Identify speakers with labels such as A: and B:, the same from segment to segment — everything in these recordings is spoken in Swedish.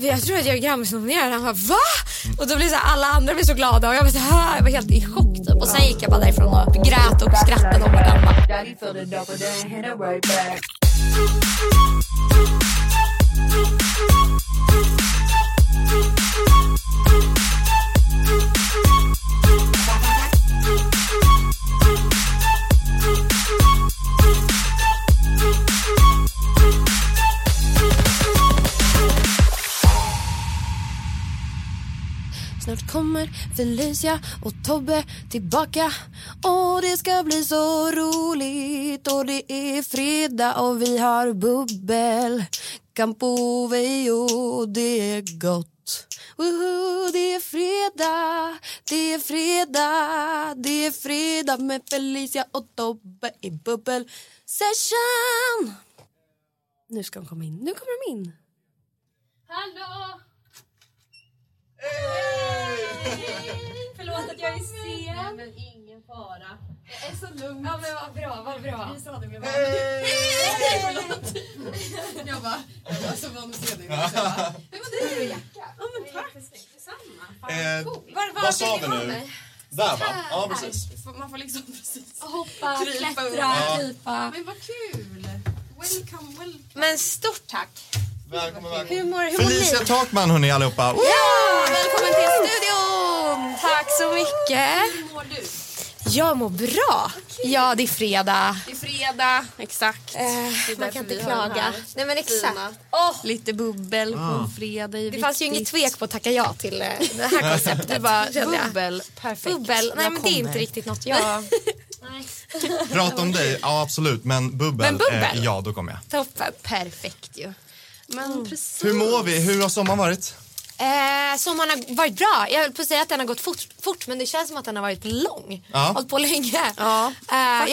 A: jag tror att jag är Grammisnominerad. Han bara va? Och då blev så här, alla andra blev så glada och jag var, så här, jag var helt i chock typ. Och sen gick jag bara därifrån och grät och skrattade
B: Alltså,
A: om varandra. Snart kommer Felicia och Tobbe tillbaka och det ska bli så roligt och det är fredag och vi har bubbel Campoveo och det är gott Woho, det är fredag, det är fredag, det är fredag med Felicia och Tobbe i bubbel session Nu ska de komma in, nu kommer de in
B: Hallå! Förlåt att jag är sen. Men ingen fara. Jag är så lugn. Ja men vad bra, vad bra. Vi sa det med varandra. Förlåt. Jag bara, jag var så van att se dig. Så jag bara, Men vad du är jacka. Ja men tack. Detsamma. Fan,
C: Eh,
B: cool. Var- var
C: Vad sa
B: sitter
C: vi
B: man
C: nu?
B: där?
C: Där va? Ja precis.
B: Får- Man får liksom precis.
A: Hoppa,
B: Krypa
A: klättra,
B: undan.
A: krypa
B: Men vad kul. Welcome, welcome.
A: Men stort tack!
C: Välkommen,
A: Hur
C: välkommen.
A: mår, hur mår
C: Felicia
A: ni?
C: Takman hörni allihopa. Oh,
A: Ja, välkommen till studion! Tack så mycket.
B: Hur mår du?
A: Jag mår bra. Ja, det är fredag. Eh,
B: Det är fredag. Exakt. Det är
A: man
B: därför
A: kan
B: vi har
A: inte
B: den
A: klaga.
B: här.
A: Nej, men exakt.
B: fina.
A: Åh,
B: Lite bubbel på en fredag
A: det fanns ju inget tvek på att tacka ja till eh, det här konceptet. Det bara, kände jag.
B: Bubbel, perfekt.
A: Bubbel. Nej, men det är inte riktigt något jag...
C: Prata om dig, ja absolut. Men bubbel,
A: Men bubbel?
C: Eh, ja då kommer jag.
A: Toppen. Perfekt ju.
B: Men precis.
C: Hur mår vi? Hur har sommaren varit?
A: Eh, sommaren har varit bra. Jag höll på att säga att den har gått fort, fort men det känns som att den har varit lång.
C: Ja.
A: Hållit på länge.
B: Ja,
A: eh,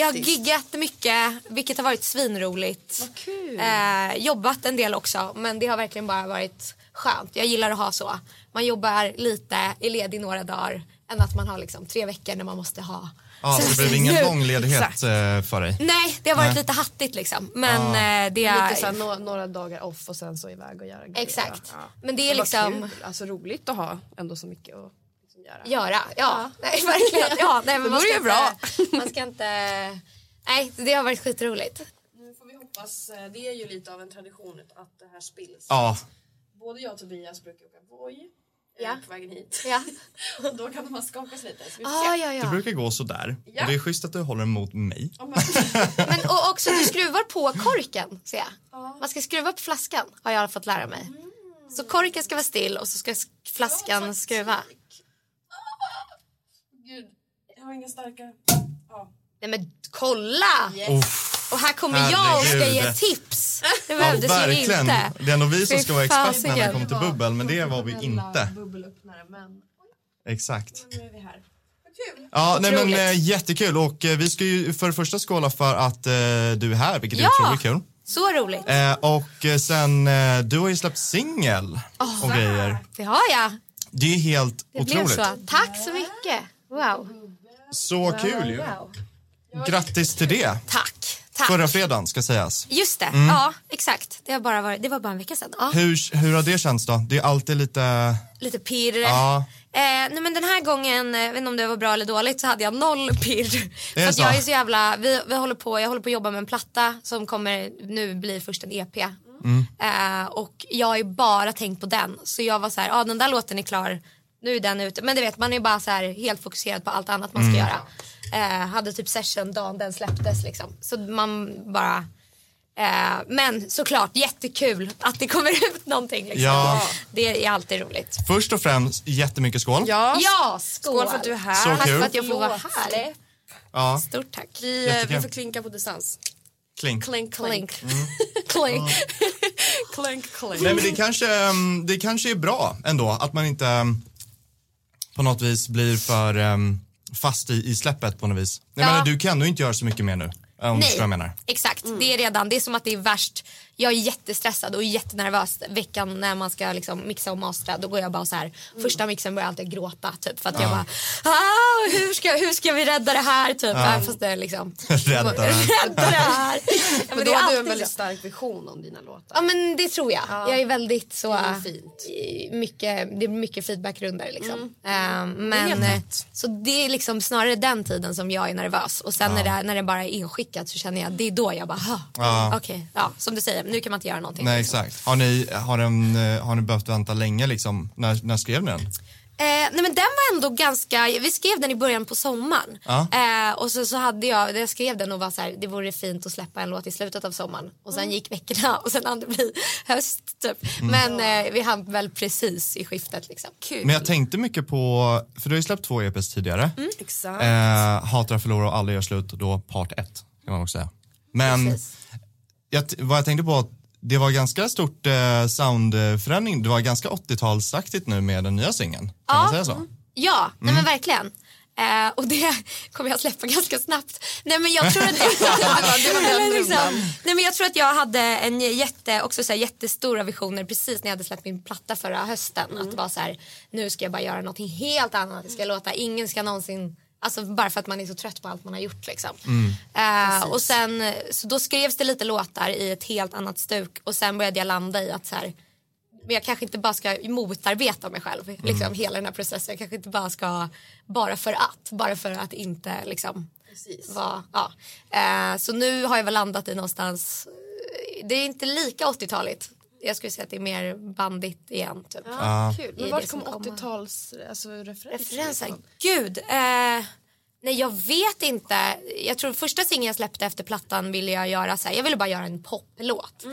A: jag har
B: faktiskt.
A: giggat mycket, vilket har varit svinroligt.
B: Vad kul.
A: Eh, jobbat en del också, men det har verkligen bara varit skönt. Jag gillar att ha så. Man jobbar lite, är ledig några dagar, än att man har liksom tre veckor när man måste ha.
C: Ja, så det blev ingen lång ledighet eh, för dig.
A: Nej, det har varit
C: Nej.
A: lite hattigt liksom. Men eh, det är...
D: Lite såhär, nå- några dagar off och sen så iväg och göra grejer.
A: Exakt.
D: Ja.
A: Men det är
D: vad
A: liksom-
D: kul. Alltså roligt att ha ändå så mycket att liksom göra.
A: göra. Ja, Nej, verkligen. Ja, nej, men
D: Det
A: man
D: vore
A: ska
D: ju bra.
A: Inte, man ska inte... Nej, det har varit skitroligt.
D: Nu får vi hoppas, eh, det är ju lite av en tradition att det här spills.
C: Ja,
D: Både jag och Tobias brukar åka Voi eh,
A: Ja.
D: på vägen hit.
A: Ja,
D: Och då kan man skakas lite. Så vi får
A: ah,
D: se.
A: ja,
C: det
A: ja.
C: brukar gå sådär.
D: Ja.
C: Och det är schysst att du håller emot mig.
D: Om man-
A: Men och också du skruvar på korken, ser jag.
D: Ja.
A: Man ska skruva på flaskan, har jag fått lära mig. Så korken ska vara still och så ska sk- flaskan skruva.
D: Gud, jag har inga starka... Ja.
A: Nej men kolla!
C: Uff.
A: Och här kommer jag och ska ge
C: Herregud.
A: tips. Det
C: Ja,
A: behövdes ju
C: verkligen.
A: inte.
C: Det är ändå vi som
A: Fy
C: ska vara expert när det
A: fasiken.
C: kommer till bubbel, men det var vi inte.
D: Bubbelöppnare, men
C: Exakt.
D: nu är vi här. Vad kul!
C: Ja, nej, men,
A: Otroligt.
C: eh, jättekul och eh, vi ska ju för det första skåla för att eh, du är här, vilket
A: Ja.
C: är otroligt kul.
A: Så roligt.
C: Eh, och eh, sen, eh, du har ju släppt singel och grejer.
A: Det har jag.
C: Det är helt
A: Det blev
C: otroligt. Så,
A: så. Tack så mycket. Wow.
C: kul ju. Grattis till det.
A: Tack. Tack.
C: Förra fredagen ska sägas.
A: Just det, ja exakt. Det, har bara varit, det var bara en vecka sedan. Ja.
C: Hur, hur har det känts då? Det är alltid lite,
A: Lite pirr.
C: Ja.
A: Eh, nej men den här gången, eh, jag vet inte om det var bra eller dåligt, så hade jag noll pirr.
C: Det är
A: För att
C: så.
A: jag är så jävla, vi, vi håller på, jag håller på att jobba med en platta som kommer nu bli först en EP.
C: Mm.
A: Eh, och jag har ju bara tänkt på den. Så jag var så här, ja ah, den där låten är klar, nu är den ute. Men du vet man är ju bara så här helt fokuserad på allt annat man
C: Mm.
A: ska göra. Eh, hade typ session dagen den släpptes liksom. Så man bara Eh, men såklart jättekul att det kommer ut någonting. Liksom.
C: Ja.
A: Det är alltid roligt.
C: först och främst jättemycket skål.
D: Ja,
A: Ja, skål.
D: skål för att du är här.
C: Så
A: Tack
C: kul.
A: för att jag får vara
D: Förlåt,
A: här.
D: släpp.
C: Ja,
A: Stort tack.
D: Vi, eh,
C: Jättekul.
D: vi får klinka på distans.
C: klink.
D: Klänk, klänk.
A: Klink.
C: Mm.
A: Klink.
D: Klänk, klänk.
C: Nej men det kanske, ehm, det kanske är bra ändå att man inte ehm, på något vis blir för ehm, fast i, i släppet på något vis. Nej
A: Ja.
C: men du kan ju inte göra så mycket mer nu. eh, Om du förstår vad jag menar.
D: Mm.
A: exakt. Det är redan, det är som att det är värst Jag är jättestressad och jättenervös veckan när man ska liksom mixa och mastra. Då går jag bara så här,
D: Mm.
A: första mixen börjar jag alltid gråta typ för att jag bara, ah, hur, ska, hur ska vi rädda det här typ? Ja. Fast det är liksom,
C: Rädda det här.
A: rädda det här. Ja, men
D: Men
A: det
D: då
A: är
D: har du en
A: alltid
D: väldigt
A: så.
D: stark vision om dina låtar.
A: Ja men det tror jag. Jag är väldigt så.
D: Det är fint. Mm.
A: i- Mycket, det är mycket feedbackrunder liksom. Eh, men, eh, så det är liksom snarare den tiden som jag är nervös och sen när, det, när det bara är inskickat så känner jag det är då jag bara, "Ha,
C: Ja.
A: okej, ja, som du säger, nu kan man inte göra någonting.
C: Nej, exakt. Har ni, har, den, eh, har ni behövt vänta länge liksom? När, när skrev ni den?
A: Eh, nej men den var ändå ganska, vi skrev den i början på sommaren.
C: Ja.
A: Eh, och så, så hade jag, jag skrev den och var så här, det vore fint att släppa en låt i slutet av sommaren. Och
C: Mm.
A: sen gick veckorna och sen hann det bli höst typ. Men eh, vi hann väl precis i skiftet liksom.
C: Men jag tänkte mycket på, för du har ju släppt två EPs tidigare.
E: Exakt.
C: Eh, Hatar, förlorar och aldrig gör slut, då part ett kan man också säga. Men
A: Precis.
C: jag, t- vad jag tänkte på, att det var ganska stort eh, soundförändring, det var ganska 80-talsaktigt nu med den nya singeln. Kan man säga så?
A: Ja, nej
D: Mm.
A: men verkligen. Eh, och det kommer jag släppa ganska snabbt. Nej men jag tror att jag,
D: det var den
A: Eller liksom,
D: rundan.
A: nej, men jag, tror att jag hade en jätte, också så här, jättestora visioner precis när jag hade släppt min platta förra hösten. Att
D: Mm.
A: det var så här, nu ska jag bara göra någonting helt annat. Jag ska låta, ingen ska någonsin Alltså bara för att man är så trött på allt man har gjort liksom.
D: Mm.
A: Eh, och sen, eh, så då skrevs det lite låtar i ett helt annat stuk och sen började jag landa i att så här, men jag kanske inte bara ska motarbeta mig själv liksom, hela den här processen. Jag kanske inte bara ska, bara för att, bara för att inte liksom vara, ja. Eh, så nu har jag väl landat i någonstans, eh, det är inte lika 80-taligt. Jag skulle säga att det är mer bandigt igen typ.
D: Ja, kul.
A: Det
D: Men
A: är
D: vart
A: det
D: kom
A: som kommer.
D: 80-tals alltså, referenser
A: Referenser,
D: ifrån?
A: gud. Eh, nej jag vet inte. Jag tror första singeln jag släppte efter plattan ville jag göra så här, jag ville bara göra en poplåt.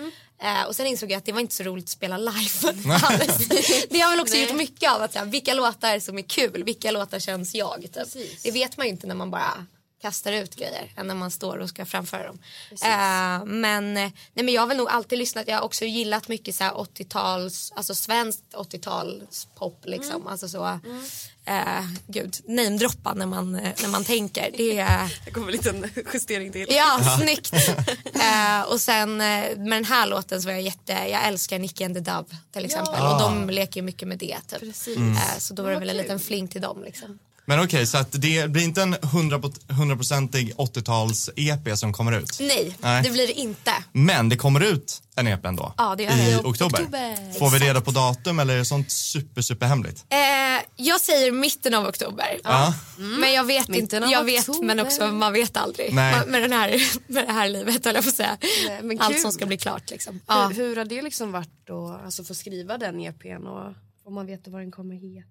A: Eh, och sen insåg jag att det var inte så roligt att spela live. alls. det har väl också gjort mycket av att så här, vilka låtar som är kul, vilka låtar känns jag. Typ. Det vet man ju inte när man bara kastar ut grejer än när man står och ska framföra dem. Eh, men, eh, nej, men jag har väl nog alltid lyssnat, jag har också gillat mycket så här 80-tals, alltså svenskt 80-tals pop liksom. Alltså så, eh, gud, namedroppa när man, eh, när man tänker. Det är,
E: Det kommer en liten justering till.
A: ja, snyggt. Eh, och sen eh, med den här låten så var jag jätte, jag älskar Nicky and the Dub till exempel.
C: Ah.
A: Och de leker ju mycket med det typ.
D: Precis.
A: Eh, så då var det väl en liten fling till dem liksom.
C: Men okej, så att det blir inte en 100% 100-procentig 80-tals-EP E som kommer ut?
A: Nej,
C: Nej.
A: det blir det inte.
C: Men det kommer ut en EP ändå
A: Ja, det gör
C: i
A: det.
C: oktober.
A: Oktober.
C: Får vi reda på datum eller är det sånt super, super hemligt?
A: Eh, jag säger mitten av oktober. Mm.
C: Ja.
A: Men jag vet inte.
D: Mitten av
A: Jag vet,
D: oktober.
A: men också man vet aldrig.
C: Nej.
A: Man, med, den här, med det här livet höll jag på att säga.
D: men
A: Allt
D: kul.
A: som ska bli klart liksom. Ja.
D: Hur, hur har det liksom varit då, alltså få skriva den EPn och om man vet vad den kommer heta?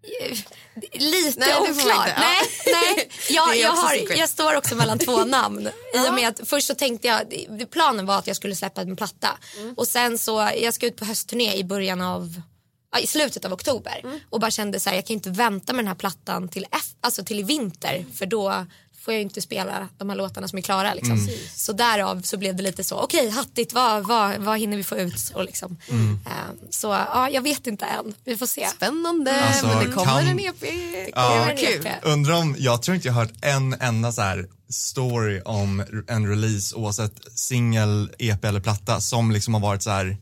A: Lite
D: Nej, det får man
A: oklart.
D: inte. Ja.
A: Nej, nej. Jag,
D: Det är
A: jag,
D: också
A: har,
D: secret.
A: jag står också mellan två namn. I och med att först så tänkte jag, det- planen var att jag skulle släppa en platta.
D: Mm.
A: Och sen så, jag ska ut på höstturné i början av ja, i slutet av oktober
D: Mm.
A: och bara kände så här, jag kan inte vänta med den här plattan till, F, alltså till i vinter
D: Mm.
A: för då får jag ju inte spela de här låtarna som är klara. Liksom. Så därav så blev det lite så, okej hattigt, vad, vad, vad hinner vi få ut? Och liksom. Eh, så ja, jag vet inte än, vi får se.
D: Spännande,
C: Alltså,
D: men det E kommer
C: kan-
D: en EP.
A: Ja,
D: Vad kul.
C: Undrar om, jag tror inte jag har hört en enda så här story om r- en release oavsett singel, EP eller platta som liksom har varit så här,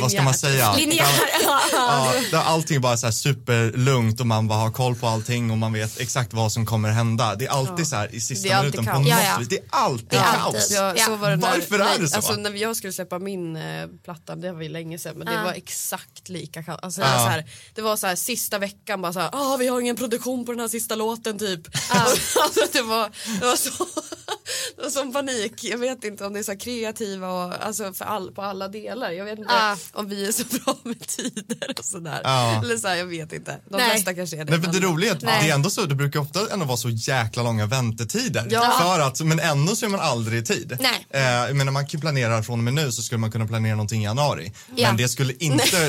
C: vad ska man säga?
A: Linjär.
C: Ja, där allting är bara så här superlugnt och man bara har koll på allting och man vet exakt vad som kommer hända. Det är alltid så här i sista
D: Det är alltid
C: minuten
D: kaos.
C: på något
A: Ja, ja.
C: vis. Det är alltid
A: Det är
C: kaos.
A: alltid.
D: Ja,
A: Ja.
D: Så var det när,
C: Varför är det så?
D: Alltså, när jag skulle släppa min eh, platta, det var ju länge sedan, men det var exakt lika kallt. Alltså, det, var
C: Ja.
D: så här, det var så här sista veckan bara så här, ah, vi har ingen produktion på den här sista låten typ. alltså, det, var, det var så det var sån panik. Jag vet inte om det är så här kreativa och, alltså, för all, på alla delar. Jag vet inte
A: Ja.
D: om vi är så bra med tider och sådär.
C: Ja.
D: Eller så här, jag vet inte. De
A: Nej.
D: flesta kanske är det.
C: Nej, men
D: men-
C: det roliga är att
A: Nej.
C: det är ändå så, det brukar ofta ändå vara så jäkla långa väntetider.
D: Ja.
C: För att, men ändå så är man aldrig i tid.
A: Nej.
C: Eh, jag menar, man kan planera från och med nu så skulle man kunna planera någonting i januari.
A: Ja.
C: Men det skulle inte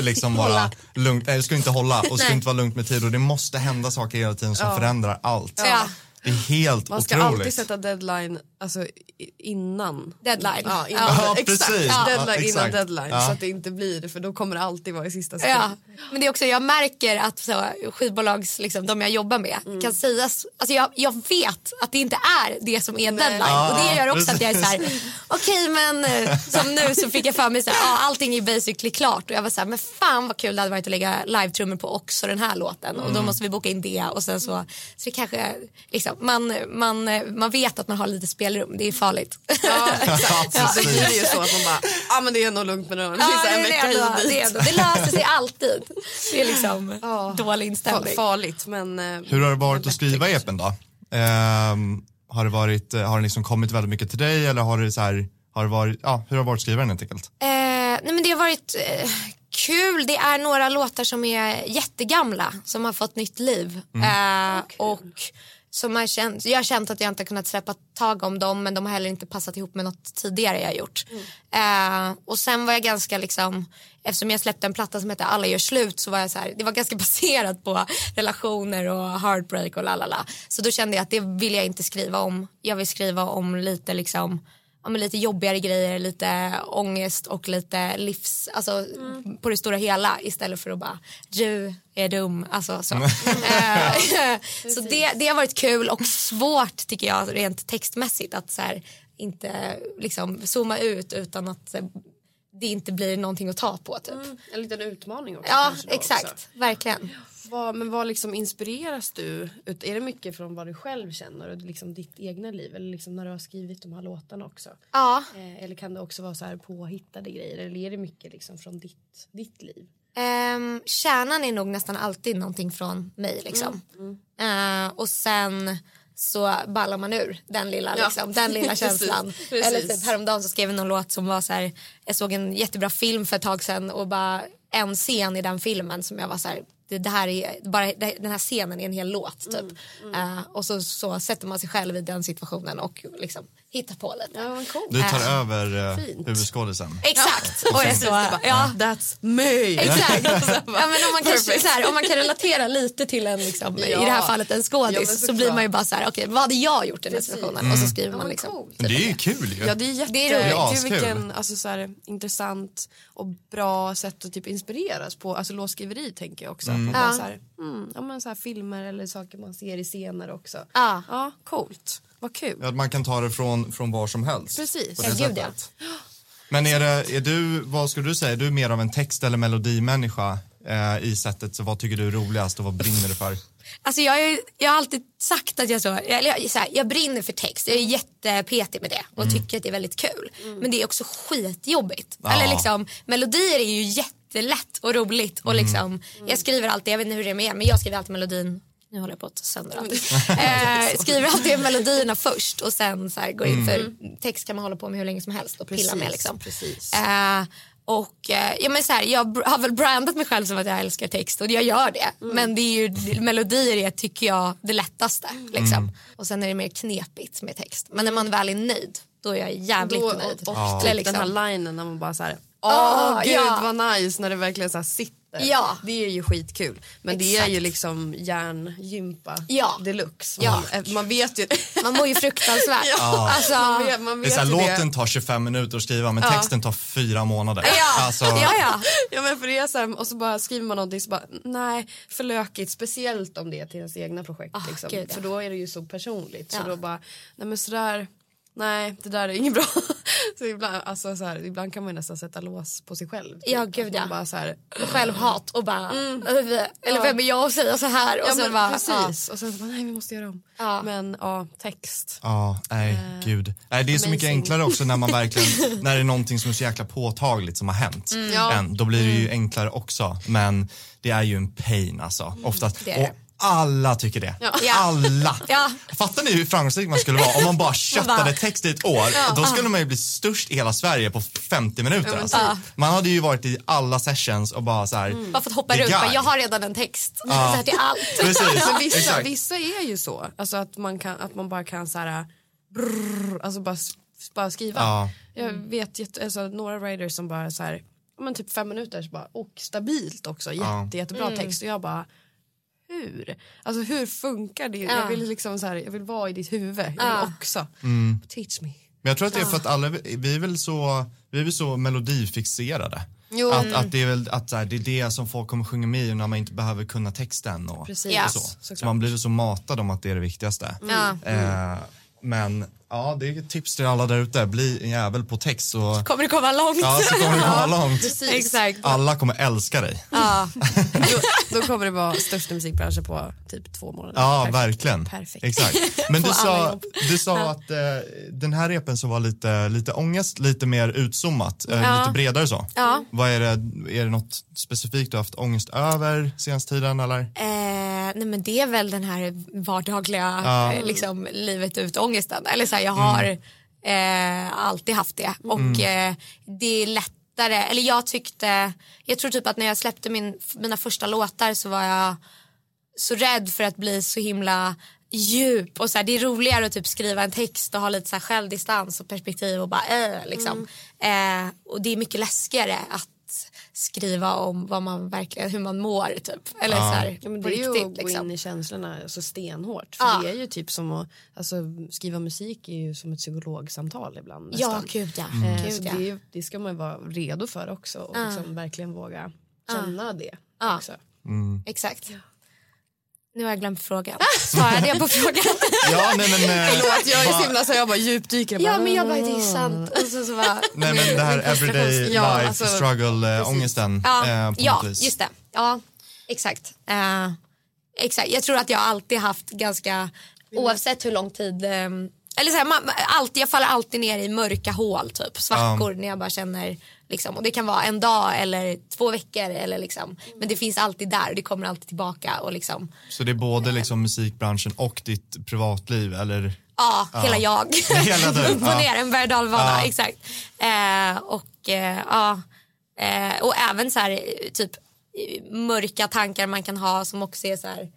C: liksom vara
A: Hålla.
C: lugnt, nej det skulle inte hålla och det skulle
A: Nej.
C: inte vara lugnt med tid och det måste hända saker hela tiden som förändrar allt.
A: Ja.
C: Det är helt
D: Man ska
C: otroligt.
D: alltid sätta deadline alltså, i- innan.
A: Deadline.
D: Ja, innan,
C: Ja,
D: exakt.
C: precis.
D: Deadline,
C: Ja,
D: Innan
C: exakt.
D: deadline.
C: Ja.
D: Så att det inte blir, för då kommer det alltid vara i sista sekund.
A: Ja, men det är också, jag märker att så, skivbolags, liksom, de jag jobbar med kan sägas, alltså jag, jag vet att det inte är det som är deadline
C: Ja,
A: och det gör också att jag är så
C: precis.
A: här, okej men eh, som nu så fick jag för mig så här, ah, allting är basically klart och jag var så här, men fan vad kul det hade varit att lägga live-trummor på också den här låten och
C: Mm.
A: då måste vi boka in det och sen så, så det kanske, liksom, man, man, man vet att man har lite spelrum, det är farligt.
D: Ja,
C: Ja,
D: exakt. Så
C: precis.
D: blir det ju så att man bara, ja ah, men det är nog lugnt med det. Det
A: Ja,
D: finns en
A: det,
D: vecka
A: är ändå,
D: hit och
A: det,
D: dit.
A: är ändå, det löser sig alltid. Det är liksom
D: Ja.
A: dålig
D: Fa-
A: inställning.
D: Farligt men... eh,
C: Hur har det varit att skriva EPn då? Ehm, har, det varit, eh, har den liksom kommit väldigt mycket till dig eller har det så här, har det varit, ja, hur har det varit att skriva den helt enkelt?
A: Eh, nej men det har varit eh, kul. Det är några låtar som är jättegamla som har fått nytt liv. Eh, och som har känt, jag har känt att jag inte har kunnat släppa tag om dem men de har heller inte passat ihop med något tidigare jag har gjort. Eh, och sen var jag ganska liksom, eftersom jag släppte en platta som hette Alla gör slut så var jag så här, det var ganska baserat på relationer och heartbreak och lalala. Så då kände jag att det vill jag inte skriva om. Jag vill skriva om lite liksom ja, men lite jobbigare grejer, lite ångest och lite livs, alltså på det stora hela istället för att bara du är dum, alltså så. Eh, så det, det har varit kul och svårt tycker jag rent textmässigt att så här, inte liksom zooma ut utan att eh, det inte blir någonting att ta på typ.
D: Mm.
F: En liten utmaning också.
A: Ja,
F: kanske då
A: exakt,
F: Också.
A: verkligen.
F: Vad, men vad liksom inspireras du? ut- Är det mycket från vad du själv känner och liksom ditt egna liv? Eller liksom när du har skrivit de här låtarna också?
A: Ja.
F: Eh, eller kan det också vara så här påhittade grejer? Eller är det mycket liksom från ditt, ditt liv?
A: Um, kärnan är nog nästan alltid någonting från mig liksom.
F: Mm,
A: Eh, och sen så ballar man ur den lilla,
F: Ja.
A: liksom, den lilla känslan.
F: precis.
A: Eller typ häromdagen så skrev jag någon låt som var så här, jag såg en jättebra film för ett tag sedan och bara en scen i den filmen som jag var så här, det, det här är, bara det, den här scenen är en hel låt typ.
F: Mm,
A: Eh, och så, så sätter man sig själv i den situationen och liksom hittar på lite.
F: Ja, vad coolt.
C: Du tar
A: Äh,
C: över eh, huvudskådisen.
A: Exakt! Och jag så, ja,
D: That's me!
A: Exakt. ja, men om, man kan, så här, om man kan relatera lite till en, liksom, i det här fallet en skådis
D: Ja, men
A: så
D: såklart. Mm.
A: blir man ju bara så här, okej vad hade jag gjort i den här situationen? Och så skriver man
F: men
A: liksom.
F: coolt.
C: Men det är ju kul ju.
D: Ja det är jätte,
A: Det är
D: det
A: roligt.
D: är
C: Askul.
D: vilken alltså, så här, intressant och bra sätt att typ inspireras på, alltså låtskriveri tänker jag också. Att man
A: Ja.
D: bara, så här, mm, ja, men, så här, filmer eller saker man ser i scener också.
A: Ja.
D: ja coolt, vad kul.
C: Att man kan ta det från, från var som helst.
D: Precis.
C: på det
A: Ja, gud,
C: sättet. Men är, det, är du, vad skulle du säga, är du mer av en text eller melodimänniska eh, i sättet, så vad tycker du är roligast och vad brinner du för?
A: Alltså jag, är, jag har alltid sagt att jag, så, jag, jag, så här, jag brinner för text, jag är jättepetig med det och tycker att det är väldigt kul. Men det är också skitjobbigt.
C: Ja.
A: Eller liksom, melodier är ju jättelätt och roligt och liksom, jag skriver alltid, jag vet inte hur det är med er, men jag skriver alltid melodin nu håller jag på att ta sönder allt. Eh, skriver alltid melodierna först och sen så här går in för text kan man hålla på med hur länge som helst och pilla med.
D: Precis,
A: Liksom.
D: precis.
A: Eh, och eh, ja, men så här, jag br- har väl brandat mig själv som att jag älskar text och jag gör det.
D: Mm.
A: Men det är ju, melodier är tycker jag det lättaste.
D: Mm.
A: Liksom. Och sen är det mer knepigt med text. Men när man väl är nöjd då är jag jävligt
D: Då, och
A: nöjd.
D: och
A: Eller
D: typ
A: liksom-
D: den här linen när man bara så här, åh
A: Ah,
D: gud
A: ja.
D: vad nice när det verkligen så här sitter.
A: Ja.
D: Det är ju skitkul. Men det är
A: Exakt.
D: ju liksom hjärngympa
A: Ja.
D: deluxe.
A: Ja.
D: Man, man vet ju
A: Man mår ju fruktansvärt.
D: Ja.
A: Alltså,
D: man vet, man
C: Ah. Det är
D: vet
C: så här,
D: ju det.
C: låten tar 25 minuter att skriva men texten tar fyra månader.
A: ja.
C: Alltså,
A: ja, ja.
D: Ja men för det är så här, och så bara skriver man någonting så bara nej för lökigt speciellt om det är till ens egna projekt
A: Ah,
D: liksom.
A: gud, ja.
D: För då är det ju så personligt
A: Ja.
D: så då bara nej men sådär nej det där är inget bra. så ibland, alltså, så här, ibland kan man ju nästan sätta lås på sig själv. typ.
A: Ja,
D: Att
A: gud,
D: man
A: ja.
D: Bara så här,
A: Självhat och bara, "Öh, eller vem är jag och säga så här? Och
D: Mm. ja,
A: sen
D: men,
A: bara, ja.
D: precis och sen så bara nej vi måste göra om.
A: Ja.
D: Men ja text.
C: Ja, nej,
A: Eh,
C: gud. Nej, det är så mycket
D: amazing.
C: enklare också när man verkligen, när det är någonting som är så jäkla påtagligt som har hänt.
A: Mm,
D: Ja.
C: Än, då blir det ju enklare också, men det är ju en pain alltså, oftast.
A: Mm, Det är det.
C: Och alla tycker det.
A: Ja.
C: Alla.
A: Ja.
C: Fattar ni hur framgångsrik man skulle vara om man bara köttade
A: bara-
C: text i ett år? Då skulle man ju bli störst i hela Sverige på 50 minuter. Alltså. Man hade ju varit i alla sessions och bara så här.
A: typ. Mm. Bara fått hoppa
C: the
A: runt, bara,
C: guy.
A: jag har redan en text. Så här till allt.
C: Precis,
D: Men Alltså, vissa,
C: exakt.
D: vissa är ju så alltså att man kan att man bara kan så här brrr, alltså bara, s- bara skriva.
C: Ja.
D: Jag vet jätte, alltså, några writers som bara så här, ja, men typ fem minuter så bara, och stabilt också, jätte,
C: Ja.
A: Mm.
D: jättebra text och jag bara hur hur? Alltså hur funkar det? Jag, vill liksom så här, jag vill vara i ditt huvud. Jag vill
A: Ja.
D: också.
C: Mm.
D: Teach me.
C: Men jag tror att det är för att alla, vi är väl så, vi är väl så melodifixerade.
D: Jo.
C: Att, att det är väl att så här, det är det som folk kommer sjunga med i när man inte behöver kunna texten och,
D: Precis.
A: Ja.
C: och så. Så man blir väl så matad om att det är det viktigaste.
A: Ja.
C: Eh, men ja, det är ett tips till alla där ute. Bli en jävel på text så,
A: Kommer det komma långt?
C: ja, så kommer du komma långt.
A: Exakt.
C: Alla kommer älska dig.
D: Ja. Då, då kommer det vara största musikbranschen på typ två månader.
C: Ja,
D: Perfekt.
C: verkligen.
D: Perfekt.
C: Exakt. Men du
D: Få alla
C: sa,
D: jobb.
C: du sa att eh, den här repen som var lite, lite ångest, lite mer utzoomat, eh, lite bredare så.
A: Ja.
C: Vad är det, är det något specifikt du har haft ångest över senaste tiden eller?
A: Eh, nej men det är väl den här vardagliga
C: Ja.
A: eh, liksom, livet ut ångesten. Eller så här, jag har eh, alltid haft det och eh, det är lättare, eller jag tyckte, jag tror typ att när jag släppte min, mina första låtar så var jag så rädd för att bli så himla djup och så här, det är roligare att typ skriva en text och ha lite så här självdistans och perspektiv och bara äh, liksom.
D: Mm.
A: Eh, och det är mycket läskigare att skriva om vad man verkligen, hur man mår typ. Eller så här,
D: Ja, men
A: på
D: det är ju
A: riktigt
D: att gå in
A: liksom.
D: i känslorna så stenhårt. För
A: Ja.
D: Det är ju typ som att alltså, skriva musik är ju som ett psykologsamtal ibland.
A: Ja,
D: nästan.
A: gud ja.
D: Eh,
A: Gud,
D: så
A: ja.
D: det, är ju- det ska man ju vara redo för också och liksom verkligen våga känna det.
A: Ja.
D: Också.
A: Exakt. Nu har jag glömt frågan. Svarade jag på frågan?
C: Ja, nej men, eh,
D: Jag är
C: vad-
D: så himla så jag bara djupdyker.
A: ja men jag bara, det är sant. Och så, så bara,
C: nej, men det här everyday
D: Ja,
C: life
D: alltså,
C: struggle eh, ångesten.
A: Ja,
C: eh, på
A: ja
C: något vis.
A: just det. Ja, exakt. Eh, exakt. Jag tror att jag alltid haft ganska, oavsett hur lång tid, ehm, eller så här, man, alltid, jag faller alltid ner i mörka hål, typ svackor när jag bara känner, liksom, och det kan vara en dag eller två veckor eller liksom, men det finns alltid där och det kommer alltid tillbaka och liksom,
C: Så det är både liksom musikbranschen och ditt privatliv eller?
A: Ja, hela jag.
C: Hela du,
A: Upp och
C: ja.
A: ner, en berg och dalbana,
C: Ja.
A: exakt. Eh, och, eh, ja, eh, och även så här, eh, typ eh, mörka tankar man kan ha som också är så här,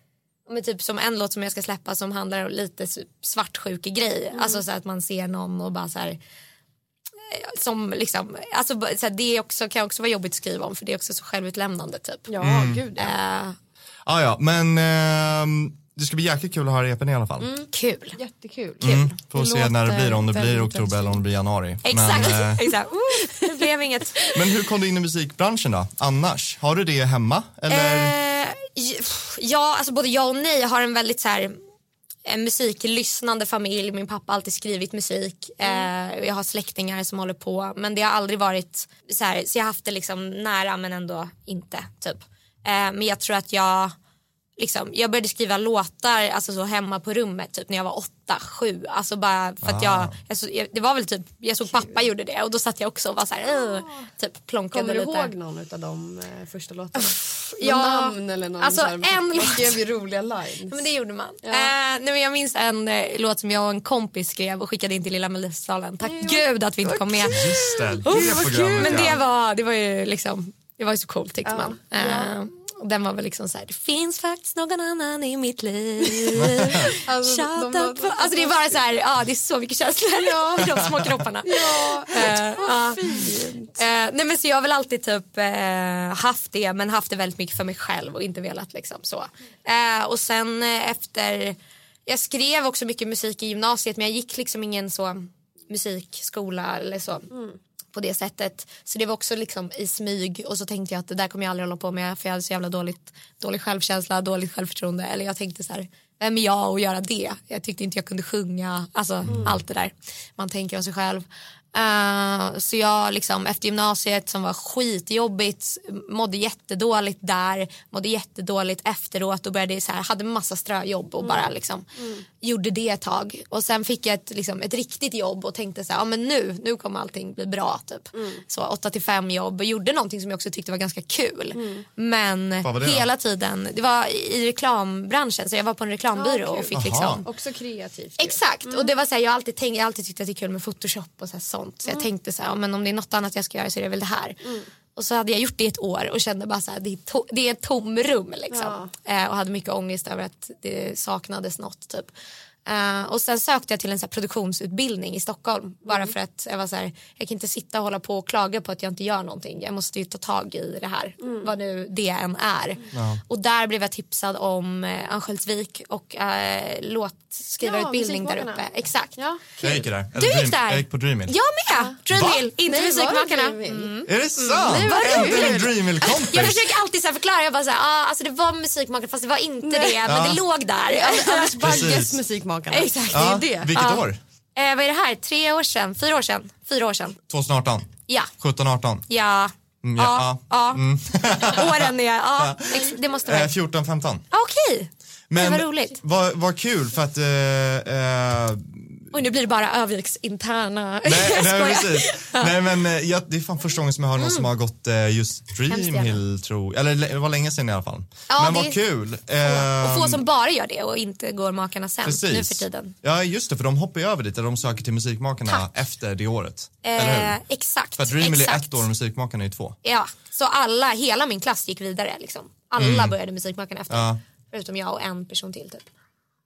A: ja, men typ som en låt som jag ska släppa som handlar om lite s- svartsjuke grej. Alltså så här att man ser någon och bara så här eh, som liksom, alltså b- så här, det är också, kan också vara jobbigt att skriva om för det är också så självutlämnande typ.
D: Ja, gud ja.
A: Eh,
C: Ja, ja, men ehm, det ska bli jäkligt kul att höra repen i alla fall.
A: kul.
D: Jättekul.
C: Mm, får
D: Det
C: se när det
D: låter
C: blir, om det blir i
D: väldigt,
C: oktober eller om det blir i januari.
A: Exakt,
C: Men, eh,
A: exakt. Oh, det blev inget.
C: men hur kom du in i musikbranschen då, annars? Har du det hemma? Eller?
A: Eh, j- pff, ja, alltså både ja och nej. Jag har en väldigt så här en musiklyssnande familj. Min pappa har alltid skrivit musik.
D: Mm.
A: Eh, och jag har släktingar som håller på. Men det har aldrig varit så här, så jag har haft det liksom nära men ändå inte. Typ. Eh, men jag tror att jag liksom, jag började skriva låtar alltså så hemma på rummet typ när jag var åtta, sju. Alltså bara för att
D: Ah.
A: jag, jag, så- jag, det var väl typ, jag såg pappa gjorde det och då satt jag också och var så här, eh, typ plonkade
D: Kommer du
A: lite.
D: ihåg någon av de eh, första låtarna? Någon
A: ja.
D: namn eller någon
A: Alltså,
D: så här,
A: en
D: man
A: låt.
D: skrev ju roliga lines.
A: Ja, men det gjorde man. Eh, nej, men jag minns en eh, låt som jag och en kompis skrev och skickade in till Lilla Melodifestivalen. Tack
D: Mm.
A: gud att vi inte kom med.
C: Just det, det
A: Uff,
C: programmet
A: Men det
C: ja.
A: var, det var ju liksom, det var ju så coolt tyckte man. Eh, och den var väl liksom så här, det finns faktiskt någon annan i mitt liv.
D: Alltså,
A: alltså,
D: de- de- de-
A: alltså det är bara så här, ja det är så mycket känslor i de små kropparna.
D: Ja,
A: Eh, ja.
D: fint.
A: Eh, nej men så jag har väl alltid typ eh, haft det men haft det väldigt mycket för mig själv och inte velat liksom så. Eh, och sen eh, efter, jag skrev också mycket musik i gymnasiet men jag gick liksom ingen så musikskola eller så. På det sättet. Så det var också liksom i smyg och så tänkte jag att det där kommer jag aldrig hålla på med för jag hade så jävla dåligt, dålig självkänsla, dåligt självförtroende. Eller jag tänkte så här, vem är jag att göra det? Jag tyckte inte jag kunde sjunga, alltså allt det där man tänker om sig själv. Eh, så jag liksom efter gymnasiet som var skitjobbigt mådde jättedåligt där, mådde jättedåligt efteråt och började så här, hade massa ströjobb och bara liksom gjorde det ett tag och sen fick jag ett, liksom, ett riktigt jobb och tänkte så här, ja men nu, nu kommer allting bli bra typ. Så 8 till 5 jobb och gjorde någonting som jag också tyckte var ganska kul. Men
C: Vad var det då?
A: hela tiden, det var i reklambranschen så jag var på en reklambyrå och fick
C: Aha.
A: liksom
D: Också kreativt. ju.
A: Exakt, och det var så här, jag har alltid, tänkt, jag har alltid tyckt att det är kul med photoshop och så här, sånt. Så jag tänkte så här, ja, men om det är något annat jag ska göra så är det väl det här. Och så hade jag gjort det i ett år och kände bara så här, det är, to- det är ett tomrum liksom. Eh, och hade mycket ångest över att det saknades något typ. Eh, och sen sökte jag till en så här, produktionsutbildning i Stockholm bara för att jag var så här, jag kan inte sitta och hålla på och klaga på att jag inte gör någonting. Jag måste ju ta tag i det här, vad nu det än är. Och där blev jag tipsad om eh, Örnsköldsvik och eh, låtskrivarutbildning där
D: Musikmakarna.
A: uppe. Exakt.
D: Ja.
C: Jag gick ju där. Eller
A: Du
C: Dream- Mm.
A: gick där.
C: Jag gick på Dreamhill.
A: Jag med! Dreamhill, inte
D: Nej, Mm. var det
A: Musikmakarna. Mm.
D: Dreamhill?
C: Är det sant?
D: Nej, vad
C: Äntligen en
D: kul.
C: Dreamhill-kompis.
A: Jag försöker alltid så här förklara, jag bara så här, ah, alltså det var musikmakarna fast det var inte det, men
C: Ja.
A: det låg där.
D: Anders Bagges
C: Precis.
D: Musikmakarna.
A: Exakt.
C: Ja,
D: det är det.
C: Vilket
A: Ja.
C: år?
A: Eh, vad är det här, tre år sedan, fyra år sedan, fyra år sedan.
C: 2018?
A: Ja,
C: 17, 18?
A: ja,
C: Mm,
A: ja,
C: ja, Mm.
A: ja. Åren är, ja, ex- det måste vara.
C: Eh, 14, 15.
A: Ah, Okej,
C: Men
A: vad roligt.
C: Vad, vad kul för att... Eh, eh,
A: och nu blir det bara Öviks interna.
C: nej,
A: Jag
C: nej, men
A: skojar. Mm.
C: precis. nej men eh, jag, det är fan första gången som jag hör någon som har gått eh, just Dreamhill tror jag. Eller le- det var länge sedan i alla fall.
A: Ja,
C: men
A: det-
C: vad kul.
A: Och få
C: Ehm,
A: som bara gör det och inte går makarna sen
C: Precis.
A: nu för tiden.
C: Ja just det, för de hoppar ju över dit, eller de söker till Musikmakarna efter det året. eller
A: Eh,
C: hur?
A: exakt.
C: För att Dreamhill är
A: exakt.
C: ett år och Musikmakarna är två.
A: Ja, så alla, hela min klass gick vidare liksom. Alla började musikmakarna efter.
C: Mm. Ja.
A: Förutom jag och en person till typ.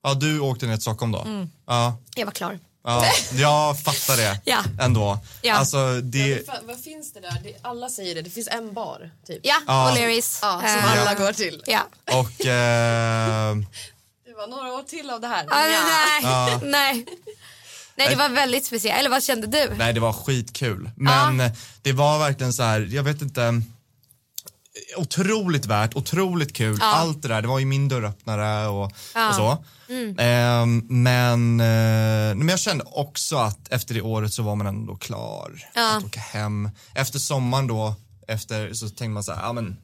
C: Ja, du åkte ner till Stockholm då?
A: Mm.
C: Ja,
A: Jag var klar.
C: ja, jag fattar det
A: Ja.
C: ändå.
A: Ja.
C: Alltså, det,
B: Vad fan- Vad finns det där? Det, alla säger det, det finns en bar typ.
A: Ja,
C: Ja.
A: O'Learys.
B: Ja, som
A: Eh,
B: alla går till.
A: ja.
C: och eh,
B: Det var några år till av det här.
A: Ja, nej, nej. Nej, det var väldigt speciellt. Eller vad kände du?
C: nej det var skitkul. Men det var verkligen så här, jag vet inte, otroligt värt, otroligt kul, allt det där. Det var ju min dörröppnare och, och så. Ehm, men, eh, men jag kände också att efter det året så var man ändå klar att åka hem. Efter sommaren då, efter, så tänkte man så här, ja men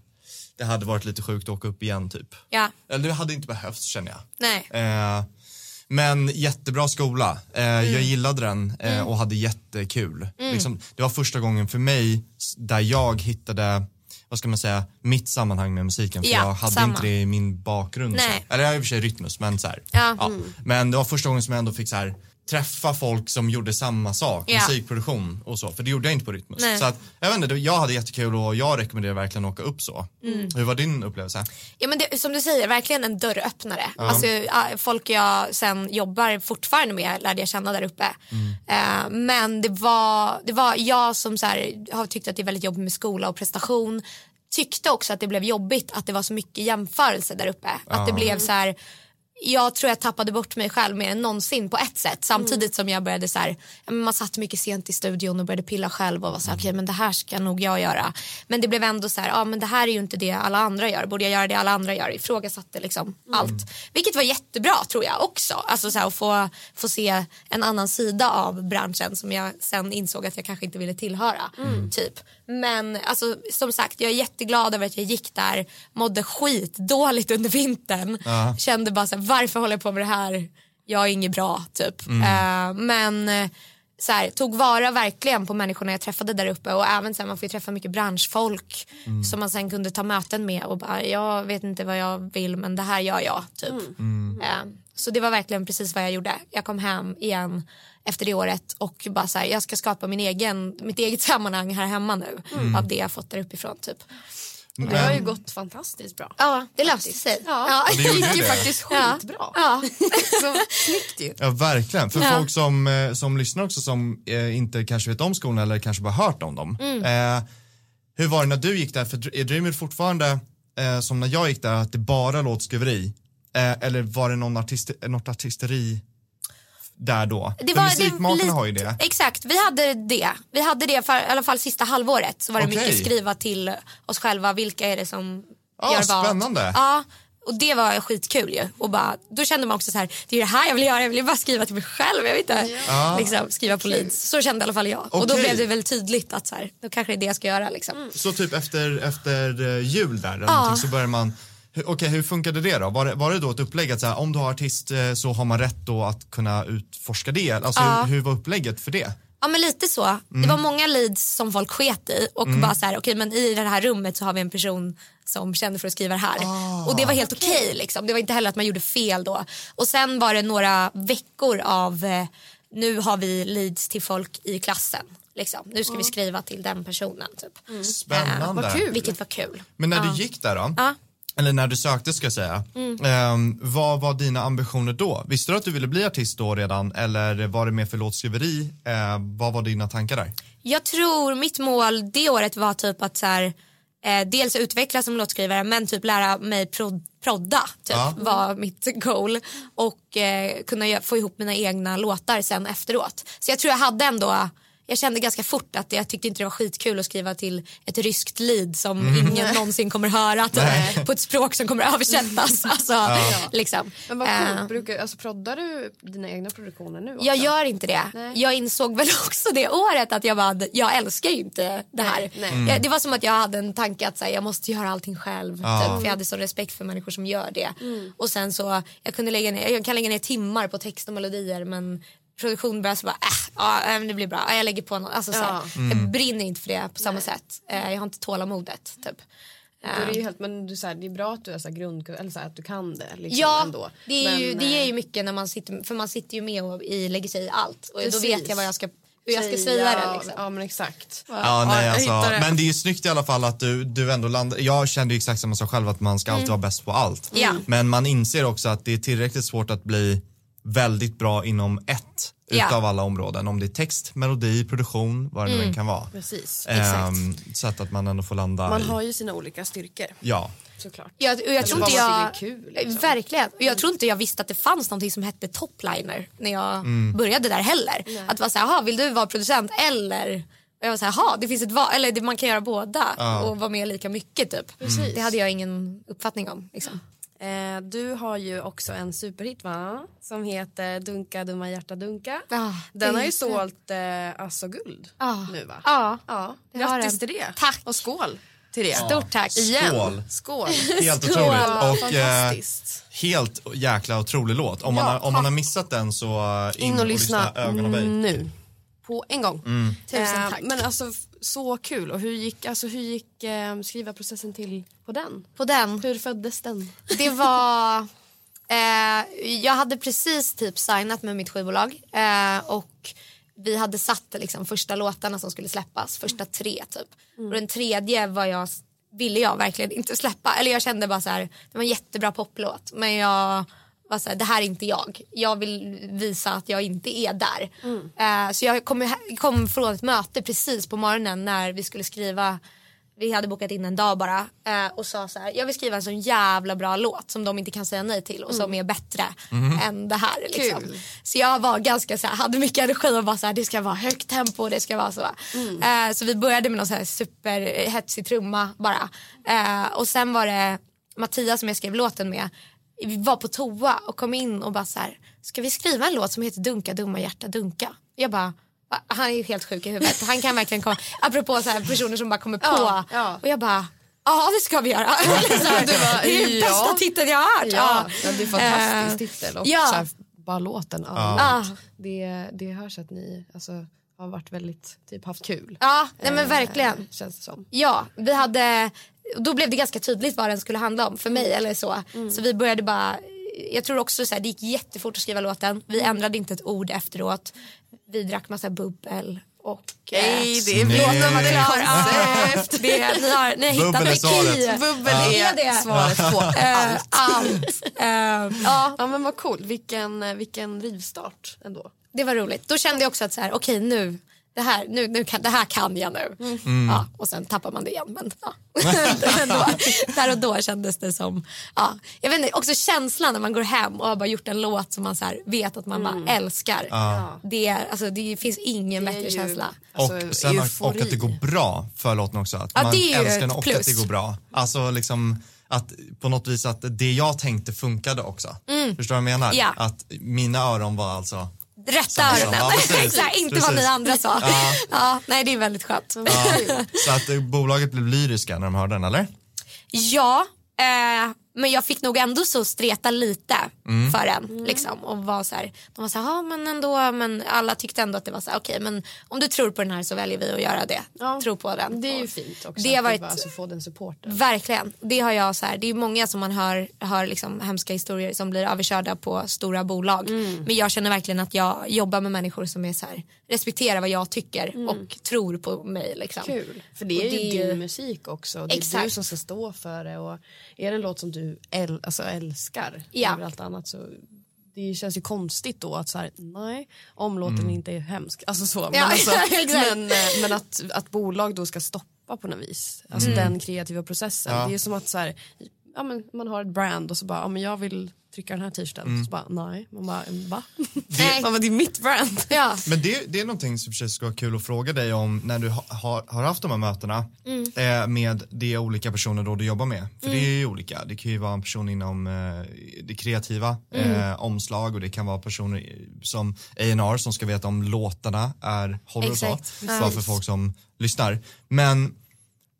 C: det hade varit lite sjukt att åka upp igen typ.
A: Ja,
C: Eller det hade inte behövts känner jag.
A: nej.
C: Eh, men jättebra skola. Eh,
A: Mm.
C: Jag gillade den eh, och hade jättekul. Liksom, det var första gången för mig s- där jag hittade vad ska man säga, mitt sammanhang med musiken. För
A: Ja,
C: jag hade
A: samma.
C: inte det i min bakgrund. och så.
A: Nej.
C: Eller jag har i och för sig Rytmus, men så här.
A: Ja. mm.
C: Men det var första gången som jag ändå fick så här, träffa folk som gjorde samma sak,
A: Ja.
C: musikproduktion och så. För det gjorde jag inte på Rytmus.
A: Nej.
C: Så att, jag vet inte, det- jag hade jättekul och jag rekommenderar verkligen att åka upp så.
A: Mm.
C: Hur var din upplevelse?
A: Ja, men det, som du säger, verkligen en dörröppnare. Alltså, ja, folk jag sen jobbar fortfarande med lärde jag känna där uppe. Eh, men det var, det var jag som så här, har tyckt att det är väldigt jobbigt med skola och prestation. Tyckte också att det blev jobbigt att det var så mycket jämförelse där uppe. Att det blev så här jag tror jag tappade bort mig själv mer än någonsin på ett sätt samtidigt som jag började så här, ja, men man satt mycket sent i studion och började pilla själv och var så här, okej men det här ska nog jag göra men det blev ändå så här, ja men det här är ju inte det alla andra gör, borde jag göra det alla andra gör ifrågasatte liksom allt vilket var jättebra tror jag också alltså så här, att få, få se en annan sida av branschen som jag sen insåg att jag kanske inte ville tillhöra typ men alltså som sagt jag är jätteglad över att jag gick där mådde skitdåligt under vintern
C: Ja.
A: kände bara så här, varför håller jag på med det här? Jag är inget bra typ. Eh, men eh, så här, tog vara verkligen på människorna jag träffade där uppe och även så här, man får ju träffa mycket branschfolk som man sen kunde ta möten med och bara jag vet inte vad jag vill men det här gör jag typ. Eh, så det var verkligen precis vad jag gjorde. Jag kom hem igen efter det året och bara så här, jag ska skapa min egen, mitt eget sammanhang här hemma nu
C: Mm.
A: av det jag fått där uppifrån typ.
D: Det har ju gått fantastiskt bra.
A: Ja, det löste sig.
D: Ja.
C: Ja, det gjorde
D: gick ju
C: det.
D: faktiskt
A: Ja. Alltså,
D: skitbra.
A: Ja.
D: Så snyggt ju.
C: Ja, verkligen. För
A: Ja.
C: folk som, eh, som lyssnar också som eh, inte kanske vet om skolorna eller kanske bara hört om dem.
A: Mm.
C: Eh, hur var det när du gick där? För dr- är Dreamhill fortfarande eh, som när jag gick där att det bara låtskriveri? Eh, eller var det någon artist, något artisteri där då?
A: Det
C: för
A: var,
C: musikmakarna
A: det,
C: har ju det.
A: Exakt, vi hade det. Vi hade det för, i alla fall sista halvåret så var det
C: Okej.
A: mycket skriva till oss själva, vilka är det som
C: Ja,
A: gör vad.
C: spännande.
A: Ja, och det var skitkul ju. Och bara, då kände man också så här, det är det här jag vill göra, jag vill ju bara skriva till mig själv, jag vill inte liksom, skriva på leads. Så kände i alla fall jag. Och då
C: Ah. Okej.
A: blev det väl tydligt att så här, då kanske det är det jag ska göra liksom.
C: Så typ efter, efter eh, jul där eller någonting, så börjar man hur- Okej, hur funkade det då? Var det, var det då ett upplägg att så här, om du har artist eh, så har man rätt då att kunna utforska det? Alltså hur, hur var upplägget för det?
A: Ja men lite så. Det var många leads som folk sket i och bara så här, okej men i det här rummet så har vi en person som känner för att skriva det här. och det var helt okej liksom. Det var inte heller att man gjorde fel då. Och sen var det några veckor av, eh, nu har vi leads till folk i klassen. Liksom. Nu ska vi skriva till den personen typ.
C: Spännande.
A: Vilket var kul.
C: Men när du gick där då?
A: Ja.
C: eller när du sökte ska jag säga,
D: Mm.
C: ehm, vad var dina ambitioner då? Visste du att du ville bli artist då redan eller var det mer för låtskriveri? Eh, vad var dina tankar där?
A: Jag tror mitt mål det året var typ att så här, eh, dels utvecklas som låtskrivare men typ lära mig prod- prodda typ,
C: Ja.
A: var mitt goal och eh, kunna gö- få ihop mina egna låtar sen efteråt. Så jag tror jag hade ändå jag kände ganska fort att jag tyckte inte det var skitkul att skriva till ett ryskt lead som ingen någonsin kommer höra typ, på ett språk som kommer översättas. Alltså, liksom.
D: Men vad
A: Eh,
D: coolt, brukar, alltså proddar du dina egna produktioner nu också?
A: jag gör inte det.
D: Nej.
A: Jag insåg väl också det året att jag bara, jag älskar ju inte det här.
D: Nej, nej.
A: Jag, det var som att jag hade en tanke att så här, jag måste göra allting själv.
C: Ja.
A: Typ, för jag hade sån respekt för människor som gör det.
D: Mm.
A: Och sen så, jag, kunde lägga ner, jag kan lägga ner timmar på text och melodier men produktion börjar så bara, äh, ja, äh, men det blir bra, Ja, jag lägger på något. Alltså, så här, Jag brinner inte för det på samma sätt. Eh, jag har inte tålamodet. Typ.
D: Då är det, ju helt, men du, så här, det är bra att du är så här, grund, eller, så här, att du kan det. Liksom,
A: Ja,
D: ändå.
A: det, är
D: men,
A: ju, det
D: eh,
A: ger ju mycket när man sitter, för man sitter ju med och i, lägger sig i allt. Och då
D: Precis.
A: vet jag vad jag ska, hur jag ska säga det. Liksom.
D: Ja men exakt.
C: Ja, nej,
D: jag
C: alltså,
D: hittar det.
C: men det är ju snyggt i alla fall att du, du ändå landar. Jag kände ju exakt samma sak själv att man ska alltid
D: Mm.
C: vara bäst på allt.
A: Ja.
C: Men man inser också att det är tillräckligt svårt att bli väldigt bra inom ett
A: Ja.
C: utav alla områden. Om det är text, melodi, produktion, vad det nu än kan vara.
D: Mm. Precis.
C: Ehm, så att, att man ändå får landa
D: Man
C: i-
D: har ju sina olika styrkor
C: Ja.
D: såklart.
A: Jag, och jag tror
D: Alltså, vad
A: inte
D: man
A: jag...
D: tycker är kul, liksom.
A: Verkligen. Och jag tror inte jag visste att det fanns någonting som hette topliner när jag började där heller. Att det var så här, "Jaha, vill du vara producent eller... Och jag var så här, "Jaha, det finns ett val, eller det- man kan göra båda och vara med lika mycket typ. Det hade jag ingen uppfattning om. Liksom.
D: Eh, du har ju också en superhit va? Som heter Dunka dumma hjärta dunka.
A: Ja,
D: den
A: det
D: har ju
A: är-
D: sålt eh, alltså guld
A: Ja.
D: nu va?
A: Ja.
D: ja.
A: det har
D: Grattis
A: den.
D: till det.
A: Tack.
D: Och skål till det.
A: Stort tack.
D: Igen.
C: Skål.
D: Skål.
C: Helt
A: Skål.
C: otroligt. Och, eh,
D: Fantastiskt.
C: helt jäkla otrolig låt. Om, man,
D: Ja,
C: har, om man har missat den så eh, in,
D: In och lyssna
C: ögon och
A: Mm,
C: böj.
D: nu. På en gång.
C: Mm.
A: Tusen tack.
D: men alltså f- så kul. Och hur gick, alltså, hur gick eh, skrivarprocessen till på den?
A: På den.
D: Hur föddes den?
A: Det var... Eh, jag hade precis typ signat med mitt skivbolag eh, och vi hade satt liksom, första låtarna som skulle släppas, första tre typ. Och den tredje var jag, ville jag verkligen inte släppa. Eller jag kände bara så här, det var en jättebra poplåt men jag var så här, det här är inte jag. Jag vill visa att jag inte är där. Eh, så jag kom, kom från ett möte precis på morgonen när vi skulle skriva vi hade bokat in en dag bara eh, och sa så här, jag vill skriva en sån jävla bra låt som de inte kan säga nej till och som är bättre än det här. Liksom. Så jag var ganska så här, hade mycket energi och bara så här, det ska vara högt tempo och det ska vara så. Eh, så vi började med någon så här superhetsig trumma bara. Eh, och sen var det Mattias som jag skrev låten med, vi var på toa och kom in och bara så här, ska vi skriva en låt som heter Dunka dumma hjärta dunka? Jag bara, "Va? han är ju helt sjuk i huvudet. Han kan verkligen komma, apropå så här personer som bara kommer på.
D: Ja, ja.
A: Och jag bara, ja det ska vi göra. Eller så här,
D: Du bara,
A: det är den
D: "Ja."
A: bästa titeln jag har hört. Ja. Eh,
D: ja, det är fantastisk titel. Och
A: ja.
D: så här, bara låten.
A: Ja.
D: Ja. Det, det hörs att ni alltså, har varit väldigt, typ haft kul. Eh,
A: Ja, nej men verkligen.
D: Känns det som.
A: Ja, vi hade, då blev det ganska tydligt vad den skulle handla om för mig eller så. Så vi började bara, jag tror också så här, det gick jättefort att skriva låten. Vi ändrade inte ett ord efteråt. Vi drack massa bubbel och
D: Nej, det
C: är Snyggt.
A: låten var
C: vilket
A: klar. Ja, det, ni har, ni har hittat
C: Bubbel är
A: en
C: svaret.
A: key.
D: Bubbel
A: Det
D: är
A: det.
D: svaret på.
A: Eh, allt. Eh, ja,
D: Ja men vad cool, vilken, eh, vilken rivstart ändå.
A: det var roligt. Då kände jag också att så här, okej nu, det här, nu, nu kan, det här kan jag nu. Ja, och sen tappar man det igen. Men, ja. Men då, där och då kändes det som, ja. jag vet inte, också känslan när man går hem och har bara gjort en låt som man så här, vet att man bara älskar. Det, är, alltså, det finns ingen
D: är
A: bättre
D: ju-
A: känsla.
C: Och,
D: Alltså,
C: sen att, och
D: eufori.
C: att det går bra för låten också. Att
A: Ja,
C: man
A: det är ju
C: älskar den
A: ett
C: och att
A: plus.
C: det går bra. Alltså liksom att på något vis att det jag tänkte funkade också. Förstår du vad jag menar?
A: Mm. Ja.
C: Att mina öron var alltså
A: Rätta
C: Samma,
A: öronen,
C: samma. Precis,
A: Exakt, inte vad ni
C: precis.
A: andra sa. Ja. nej, det är väldigt skönt.
C: ja, så att eh, bolaget blev lyriska när de hörde den eller?
A: Ja, eh, Men jag fick nog ändå så streta lite för
D: Mm.
A: den. Liksom, och var så här, de var så här, "Ja, men ändå, men alla tyckte ändå att det var så här, okej men om du tror på den här så väljer vi att göra det.
D: Ja.
A: Tro på den.
D: Det är ju
A: Och-
D: fint också.
A: Det har
D: att
A: varit-
D: bara, alltså, få den supporten.
A: Verkligen. Det har jag så här, det är många som man hör, hör liksom hemska historier som blir överkörda på stora bolag.
D: Mm.
A: Men jag känner verkligen att jag jobbar med människor som är så här, respekterar vad jag tycker och tror på mig. Liksom.
D: Mm. Kul. För det är
A: Och
D: ju
A: det är ju-
D: din musik också. Det är
A: Exakt.
D: du som ska stå för det. Och är det en låt som du äl- alltså älskar
A: Ja.
D: över allt annat så det känns ju konstigt då att så här, nej, om låten inte är hemsk. Alltså så. Men,
A: Ja,
D: alltså,
A: exakt.
D: men, eh, men att, att bolag då ska stoppa på något vis. Alltså
A: Mm.
D: den kreativa processen. Det är ju som att så här, ja, men man har ett brand och så bara, ja, men jag vill trycka den här t-shirten. Så bara, nej. Man bara, mm, va?
A: Nej.
D: Man bara, det är mitt brand.
A: Ja.
C: Men det, det är någonting som kanske skulle vara kul att fråga dig om när du ha, har, har haft de här mötena
A: Mm.
C: eh, med de olika personer då du jobbar med. För det är ju
A: Mm.
C: olika. Det kan ju vara en person inom eh, det kreativa,
A: Mm.
C: eh, omslag och det kan vara personer i- som A&R som ska veta om låtarna är, håller och
A: Exakt.
C: så. Bara för folk som lyssnar. Men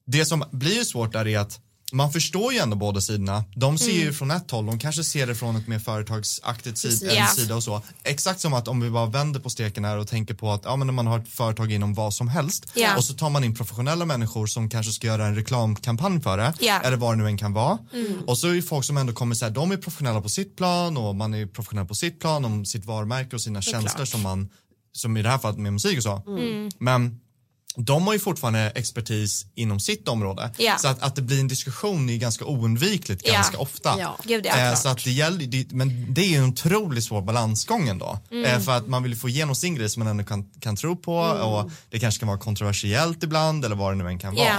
C: det som blir svårt där är att man förstår ju ändå båda sidorna. De ser
A: Mm.
C: ju från ett håll, de kanske ser det från ett mer företagsaktigt sid- en
A: Ja.
C: sida och så. Exakt som att om vi bara vänder på steken här och tänker på att ja, men när man har ett företag inom vad som helst
A: Ja.
C: och så tar man in professionella människor som kanske ska göra en reklamkampanj för det
A: Ja. Mm.
C: eller vad det nu än kan vara. Och så är det folk som ändå kommer säga de är professionella på sitt plan och man är professionell på sitt plan om sitt varumärke och sina tjänster som man, som i det här fallet med musik och så.
A: Mm.
C: Men de har ju fortfarande expertis inom sitt område.
A: Ja.
C: Så att, att det blir en diskussion är ju ganska oundvikligt
A: Ja.
C: ganska ofta.
D: Ja.
A: Gud, ja,
C: eh,
A: klart.
C: så att det gäller, det, men det är ju en otroligt svår balansgång ändå.
A: Mm.
C: Eh, för att man vill ju få igenom sin grej som man ändå kan, kan tro på
A: Mm.
C: och det kanske kan vara kontroversiellt ibland eller vad det nu än kan vara.
A: Ja.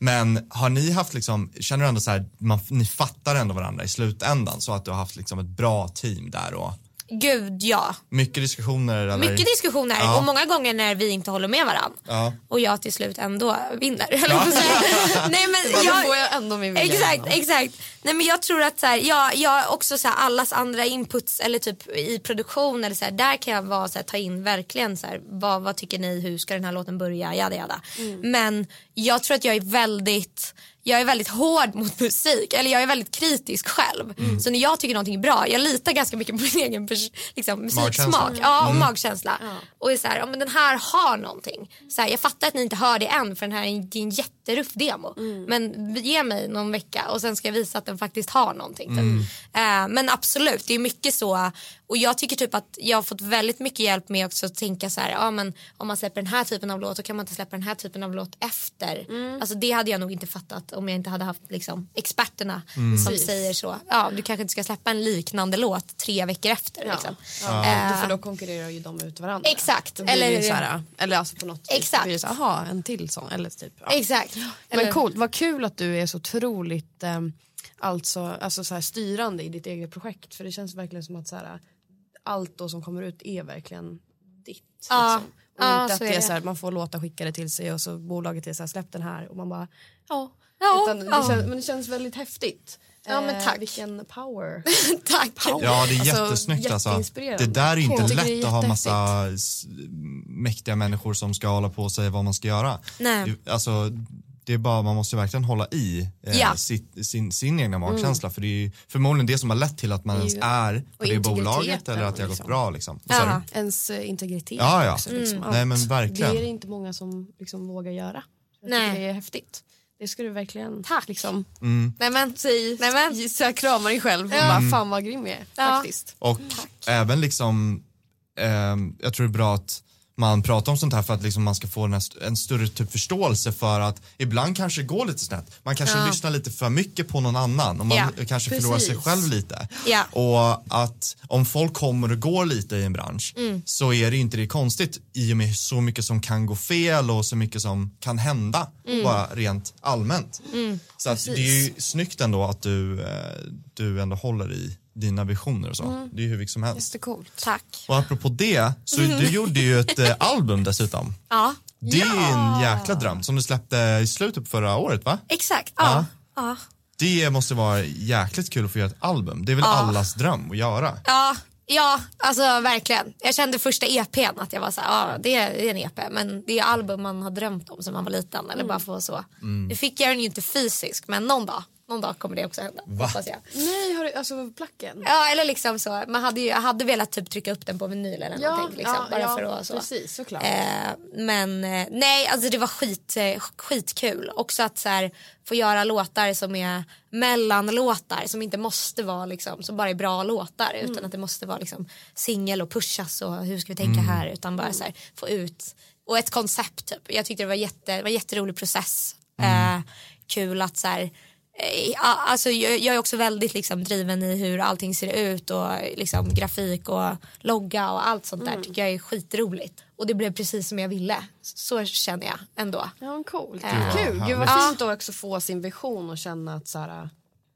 C: Men har ni haft liksom, känner du ändå så här, man, ni fattar ändå varandra i slutändan så att du har haft liksom ett bra team där och
A: Gud ja.
C: mycket diskussioner? Eller?
A: Mycket diskussioner
C: Ja.
A: och många gånger när vi inte håller med varandra.
C: Ja.
A: Och jag till slut ändå vinner. Eller vad ska jag säga? Nej, men
D: Då
A: jag,
D: får jag ändå min vilja
A: Exakt,
D: igenom.
A: exakt. Nej men jag tror att så här, jag, jag också så här, allas andra inputs eller typ i produktion eller så här, där kan jag vara så här, ta in verkligen så här, vad, vad tycker ni, hur ska den här låten börja, jada jada. Men jag tror att jag är väldigt jag är väldigt hård mot musik, eller jag är väldigt kritisk själv.
C: Mm.
A: Så när jag tycker någonting är bra, jag litar ganska mycket på min egen pers- liksom, musiksmak
C: Magkänsla.
A: ja, och magkänsla. Och är så här, ja, men den här har någonting. Så här, jag fattar att ni inte hör det än för den här är en, det är en jätteruff demo.
D: Mm.
A: Men ge mig någon vecka och sen ska jag visa att den faktiskt har någonting. Typ. Eh, men absolut, det är mycket så. Och jag tycker typ att jag har fått väldigt mycket hjälp med också att tänka så här, ja, men om man släpper den här typen av låt då kan man inte släppa den här typen av låt efter.
D: Mm.
A: Alltså det hade jag nog inte fattat om jag inte hade haft liksom, experterna som
D: Precis.
A: säger så. Ja, du kanske inte ska släppa en liknande låt tre veckor efter. Liksom.
D: Ja,
A: Eh,
D: för då konkurrerar ju de ut varandra.
A: Exakt.
D: Då blir eller, det
A: Eller-
D: ju så här, eller alltså på något vis.
A: Exakt.
D: Då blir det så här, Jaha, en till sån. Eller typ, ja.
A: Exakt.
D: Men coolt, vad kul att du är så otroligt ehm, alltså, alltså så här, styrande i ditt eget projekt. För det känns verkligen som att så här, allt då som kommer ut är verkligen ditt.
A: Ja.
D: Liksom. Och
A: Ja,
D: inte att
A: så
D: det
A: är
D: är
A: det.
D: så här, man får låta skicka det till sig och så bolaget är så här, släpp den här och man bara ja.
A: Ja,
D: Utan det
A: ja.
D: känns, men det känns väldigt häftigt.
A: Ja, men
D: Eh,
A: tack.
D: vilken power.
A: Tack.
C: Ja, det är
D: Alltså,
C: jättesnyggt alltså.
D: jätteinspirerande.
C: Det där är ju inte
D: Jag tycker det är
C: lätt att ha massa
D: jättehäftigt.
C: s- mäktiga människor som ska hålla på och säga vad man ska göra.
A: Nej.
C: Det- Alltså, det är bara, man måste ju verkligen hålla i eh,
A: Ja.
C: sitt, sin, sin
D: Mm.
C: egna magkänsla för det är ju förmodligen det som har lett till att man ens är på det
D: integriteten
C: bolaget eller att det har gått
D: liksom.
C: bra liksom. Vad sa du?
A: Ja.
D: Ens eh, integritet
C: Ja, ja.
D: också. Liksom,
C: Nej,
D: allt.
C: men verkligen.
D: Det är det inte många som liksom vågar göra. Jag
A: Nej.
D: tycker Det är häftigt. Det ska du verkligen
A: Tack.
D: Liksom,
A: Nej men, nej, men.
D: så jag kramar dig själv och
C: Mm.
D: bara fan vad grym jag är. Faktiskt.
C: Och även liksom, ehm, jag tror det är bra att man pratar om sånt här för att liksom man ska få en, st- en större typ förståelse för att ibland kanske det går lite snett. Man kanske lyssnar lite för mycket på någon annan och man
A: Ja,
C: kanske förlorar sig
D: precis.
C: själv lite.
A: Ja.
C: Och att om folk kommer och går lite i en bransch så är det ju inte det konstigt i och med så mycket som kan gå fel och så mycket som kan hända bara rent allmänt. Så att det är ju snyggt ändå att du, eh, du ändå håller i dina visioner och så. Det är ju hur mycket som helst.
D: Jättecoolt.
A: Tack.
C: Och apropå det, så du gjorde ju ett eh, album dessutom.
A: Ja,
C: Det är ju en jäkla dröm som du släppte i slutet på förra året va?
A: exakt. Ja. Ja.
C: Det måste vara jäkligt kul att få göra ett album. Det är väl allas dröm att göra?
A: Ja. Ja, alltså verkligen. Jag kände första EPn att jag var så här, ja det är det är en EP men det är
D: Mm.
C: Mm.
A: album man har drömt om som man var liten eller bara få så. Nu fick jag den ju inte fysisk men någon dag någon dag kommer det också hända.
C: Va?
A: Hoppas jag.
D: Nej, har du, alltså placken?
A: Ja, eller liksom så. Man hade ju, jag hade velat typ trycka upp den på vinyl eller
D: Ja,
A: någonting. Liksom,
D: ja,
A: bara
D: ja,
A: för att så.
D: precis, såklart.
A: Eh, men eh, nej, alltså det var skit, eh, skitkul. Också att så här, få göra låtar som är mellanlåtar som inte måste vara liksom, som bara är bra låtar utan att det måste vara liksom singel och pushas och hur ska vi tänka här utan bara så här, få ut och ett koncept typ. Jag tyckte det var, jätte, det var en jätterolig process. Eh, kul att så här eh, ja, Alltså, jag jag är också väldigt liksom, driven i hur allting ser ut och liksom, grafik och logga och allt sånt där tycker jag är skitroligt. Och det blev precis som jag ville. Så känner jag ändå.
D: Ja, men coolt.
A: Ja.
D: Kul. Gud vad
A: Ja.
D: fint att också få sin vision och känna att så här,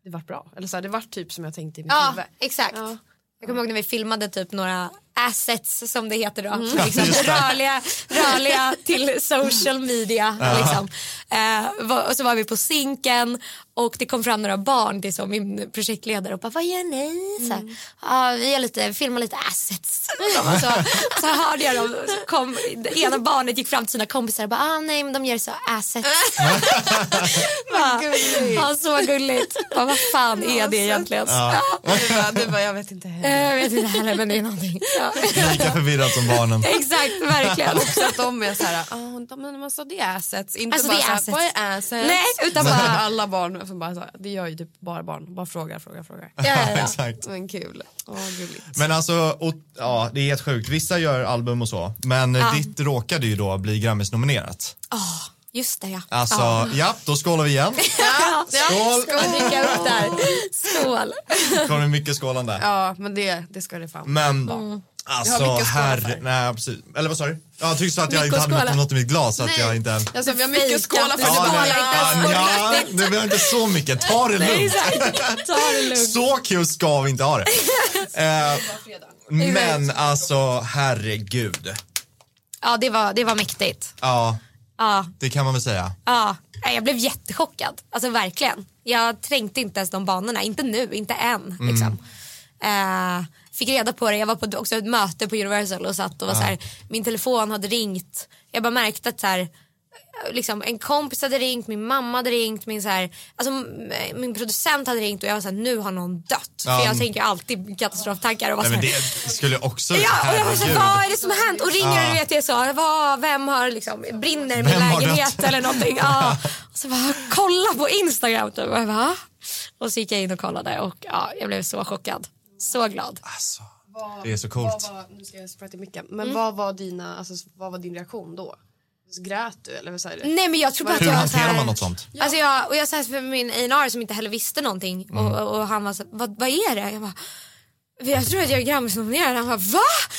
D: det vart bra. Eller så här, det vart typ som jag tänkte i mitt
A: Ja,
D: huvud.
A: exakt.
D: Ja.
A: Jag kommer ihåg när vi filmade typ några assets som det heter då.
D: Mm.
A: Liksom,
C: Just det.
A: rörliga, rörliga till social media. Liksom. Eh, va- och så var vi på Zinken och det kom fram några barn till så, min projektledare och bara vad gör ni? Så här,
D: Mm.
A: "Ah, vi, gör lite, vi filmar lite assets. Och så, så hörde jag dem. Så kom, det ena barnet gick fram till sina kompisar och bara ah, nej men de gör så assets. Bara, ja, så gulligt. Bara, vad fan är
D: Alltså.
A: det egentligen?
D: Du bara, du bara, jag vet inte heller.
A: Eh, Jag vet inte heller men det är någonting. Ja.
C: Lika förvirrad som barnen.
A: Exakt, verkligen.
D: Så att de är så här, ah, de, men alltså det är assets. Inte
A: Alltså,
D: bara
A: det är
D: så här,
A: assets.
D: vad är assets?
A: Nej, utan
D: Så här,
A: bara-
D: alla barn, som bara, så här, det gör ju typ bara barn, bara frågar, frågar, frågar.
A: Ja, ja, ja.
C: Exakt.
D: Men kul. Åh, gulligt.
C: Men alltså, och, ja, det är helt sjukt. Vissa gör album och så, men eh, ditt råkade ju då bli Grammis-nominerat.
A: Ah, just det ja.
C: Alltså, ja, då skålar vi igen.
A: ja.
C: Skål!
A: Skål. Dricka upp där. Skål.
C: Det kommer mycket skålande.
D: Ja, men det, det ska det fan.
C: Men
D: Jag har
C: alltså,
D: mycket skålar
C: herre...
D: för.
C: Nej, precis. Eller vad sa du? Ja, Jag tyckte så att jag
A: Mycket
C: inte hade
A: skålar.
C: något- något i mitt glas. så Att jag inte...
D: Alltså, vi har mycket att skåla för.
A: Du skålar
D: det bara-
C: men-
A: inte.
C: ja, nja, nu vi har inte så mycket. Ta det lugnt.
A: Ta det lugnt.
C: Så kul ska vi inte ha det. Eh, men alltså, herregud.
A: Ja det var, det var mäktigt.
C: Ja,
A: Ja,
C: det kan man väl säga.
A: ja. Nej, Jag blev jättechockad. Alltså verkligen. Jag tänkte inte ens de banorna. Inte nu, inte än.
C: Mm.
A: Liksom. Eh, fick reda på det. Jag var på också ett möte på Universal och satt och var så här, min telefon hade ringt. Jag bara märkte att så här, liksom, en kompis hade ringt, min mamma hade ringt, min, så här, alltså, m- min producent hade ringt och jag var så här, nu har någon dött.
C: Ja,
A: För jag
C: men-
A: tänker alltid katastroftankar. Och var
C: Nej,
A: så
C: men
A: här,
C: det skulle också...
A: Alltså- Ja, och jag var så här,
C: herregud.
A: vad är det som har hänt? Och ringer och du vet, jag är så, vad, vem har liksom, brinner min
C: Vem har
A: lägenhet
C: dött?
A: eller någonting? Ja. Och så bara, kolla på Instagram typ. Och jag bara, "Va?" Och så gick jag in och kollade och ja, jag blev så chockad. Så glad.
C: Alltså, det är så coolt.
D: Vad var, nu ska jag spela till mycket. Men
A: Mm.
D: vad, var dina, alltså, vad var din reaktion då? Grät du eller vad säger du?
A: Nej men jag tror bara att
C: Hur
A: jag var
C: hanterar
A: så här-
C: man något sånt?
A: Alltså jag, och jag sa för min A&amppr som inte heller visste någonting
C: Mm.
A: och, och han var så här, vad, vad är det? Jag bara, jag tror att jag är Grammisnominerad. Han bara, va?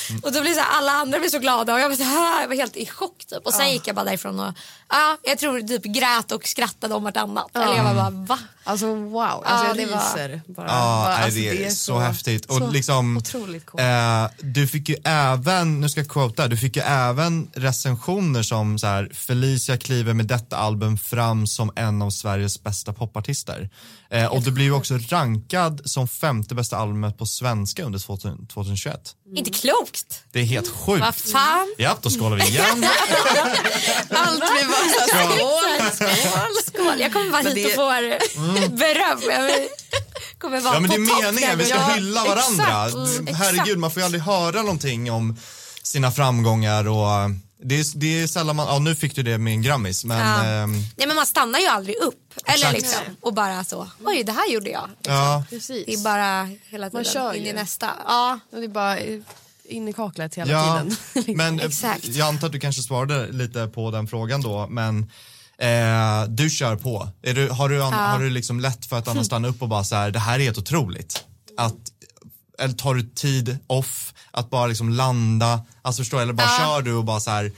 C: Mm.
A: Och då blev så här, alla andra blev så glada och jag var, så här, jag var helt i chock typ. Och sen gick jag bara därifrån och ja, jag tror typ grät och skrattade om vartannat. Eller jag var bara, va?
D: Alltså wow, alltså, jag
A: det var-
D: ryser bara.
C: Ja,
D: bara
C: nej,
D: alltså,
C: det, är så, häftigt. Och
D: så
C: liksom,
D: otroligt coolt.
C: eh, du fick ju även, nu ska jag quota, du fick ju även recensioner som så här, Felicia kliver med detta album fram som en av Sveriges bästa popartister. Eh, och du blev ju också rankad som femte bästa albumet på svenska under 2000 2021.
A: Inte klokt.
C: Det är helt sjukt.
A: Mm. Vad fan?
C: Ja, då skålar vi igen.
D: Allt vi var så här, skål,
A: Skål, jag kommer vara
D: Men
A: hit
D: det-
A: och får beröm. Jag kommer vara
C: Mm. Ja men det
A: på
C: är
A: topp
C: meningen, vi ska
A: där.
C: hylla varandra.
A: Exakt, mm,
C: Herregud,
A: exakt.
C: man får ju aldrig höra någonting om sina framgångar och eh, det är, det är sällan man, ja nu fick du det med en Grammis men
A: Ja.
C: ehm,
A: Nej men man stannar ju aldrig upp. Eller
C: Exakt.
A: liksom, och bara så, oj det här gjorde jag.
C: ja.
D: Precis.
A: Det är bara hela
D: Man
A: tiden
D: kör
A: in
D: ju.
A: i nästa. Ja.
D: Och Det är bara in i kaklet hela
C: ja.
D: tiden.
C: Men eh,
A: Exakt.
C: jag antar att du kanske svarade lite på den frågan då men eh, du kör på. Är du, har, du an, har du liksom lätt för att annars stanna upp och bara så här, det här är helt otroligt? Att, eller tar du tid off att bara liksom landa, alltså förstår du, eller bara kör du och bara så här,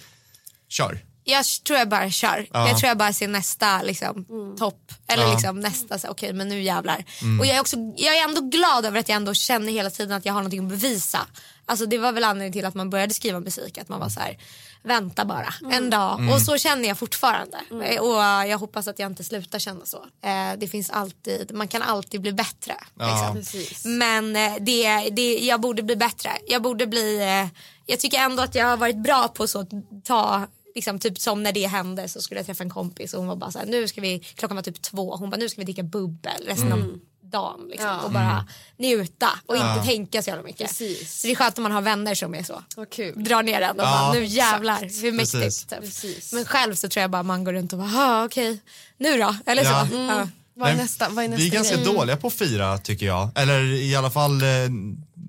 C: kör.
A: Jag tror jag bara kör.
C: Ja.
A: Jag tror jag bara ser nästa liksom, topp. Eller
C: Ja. Mm.
A: liksom, nästa, så här, okej men nu jävlar. Och jag är, också, jag är ändå glad över att jag ändå känner hela tiden att jag har någonting att bevisa. Alltså, det var väl anledningen till att man började skriva musik. Att man var så här, vänta bara en dag.
C: Mm.
A: Och så känner jag fortfarande. Och eh, jag hoppas att jag inte slutar känna så. Eh, det finns alltid, man kan alltid bli bättre. Liksom.
D: Precis.
A: Men eh, det, det, jag borde bli bättre. Jag borde bli... eh, Jag tycker ändå att jag har varit bra på så att ta liksom, typ som när det hände så skulle jag träffa en kompis och hon var bara så här, nu ska vi, klockan var typ två, hon bara nu ska vi dricka bubbel resten
B: Mm.
A: av dagen liksom, och
C: Mm.
A: bara njuta och inte tänka så jävla mycket.
B: Precis.
A: Så det är skönt om man har vänner som är så.
B: Vad kul.
A: Drar ner den och
C: Ja.
A: bara nu jävlar hur
C: Precis.
A: mäktigt. Typ.
B: Precis.
A: Men själv så tror jag bara man går runt och bara, "Ah, okej nu då? Eller
C: Ja.
A: så.
B: Mm.
A: Ja.
D: Vad är
C: Nej,
D: nästa, vad är nästa
C: Vi är ganska
D: grej?
C: dåliga på att fira tycker jag. Eller i alla fall eh,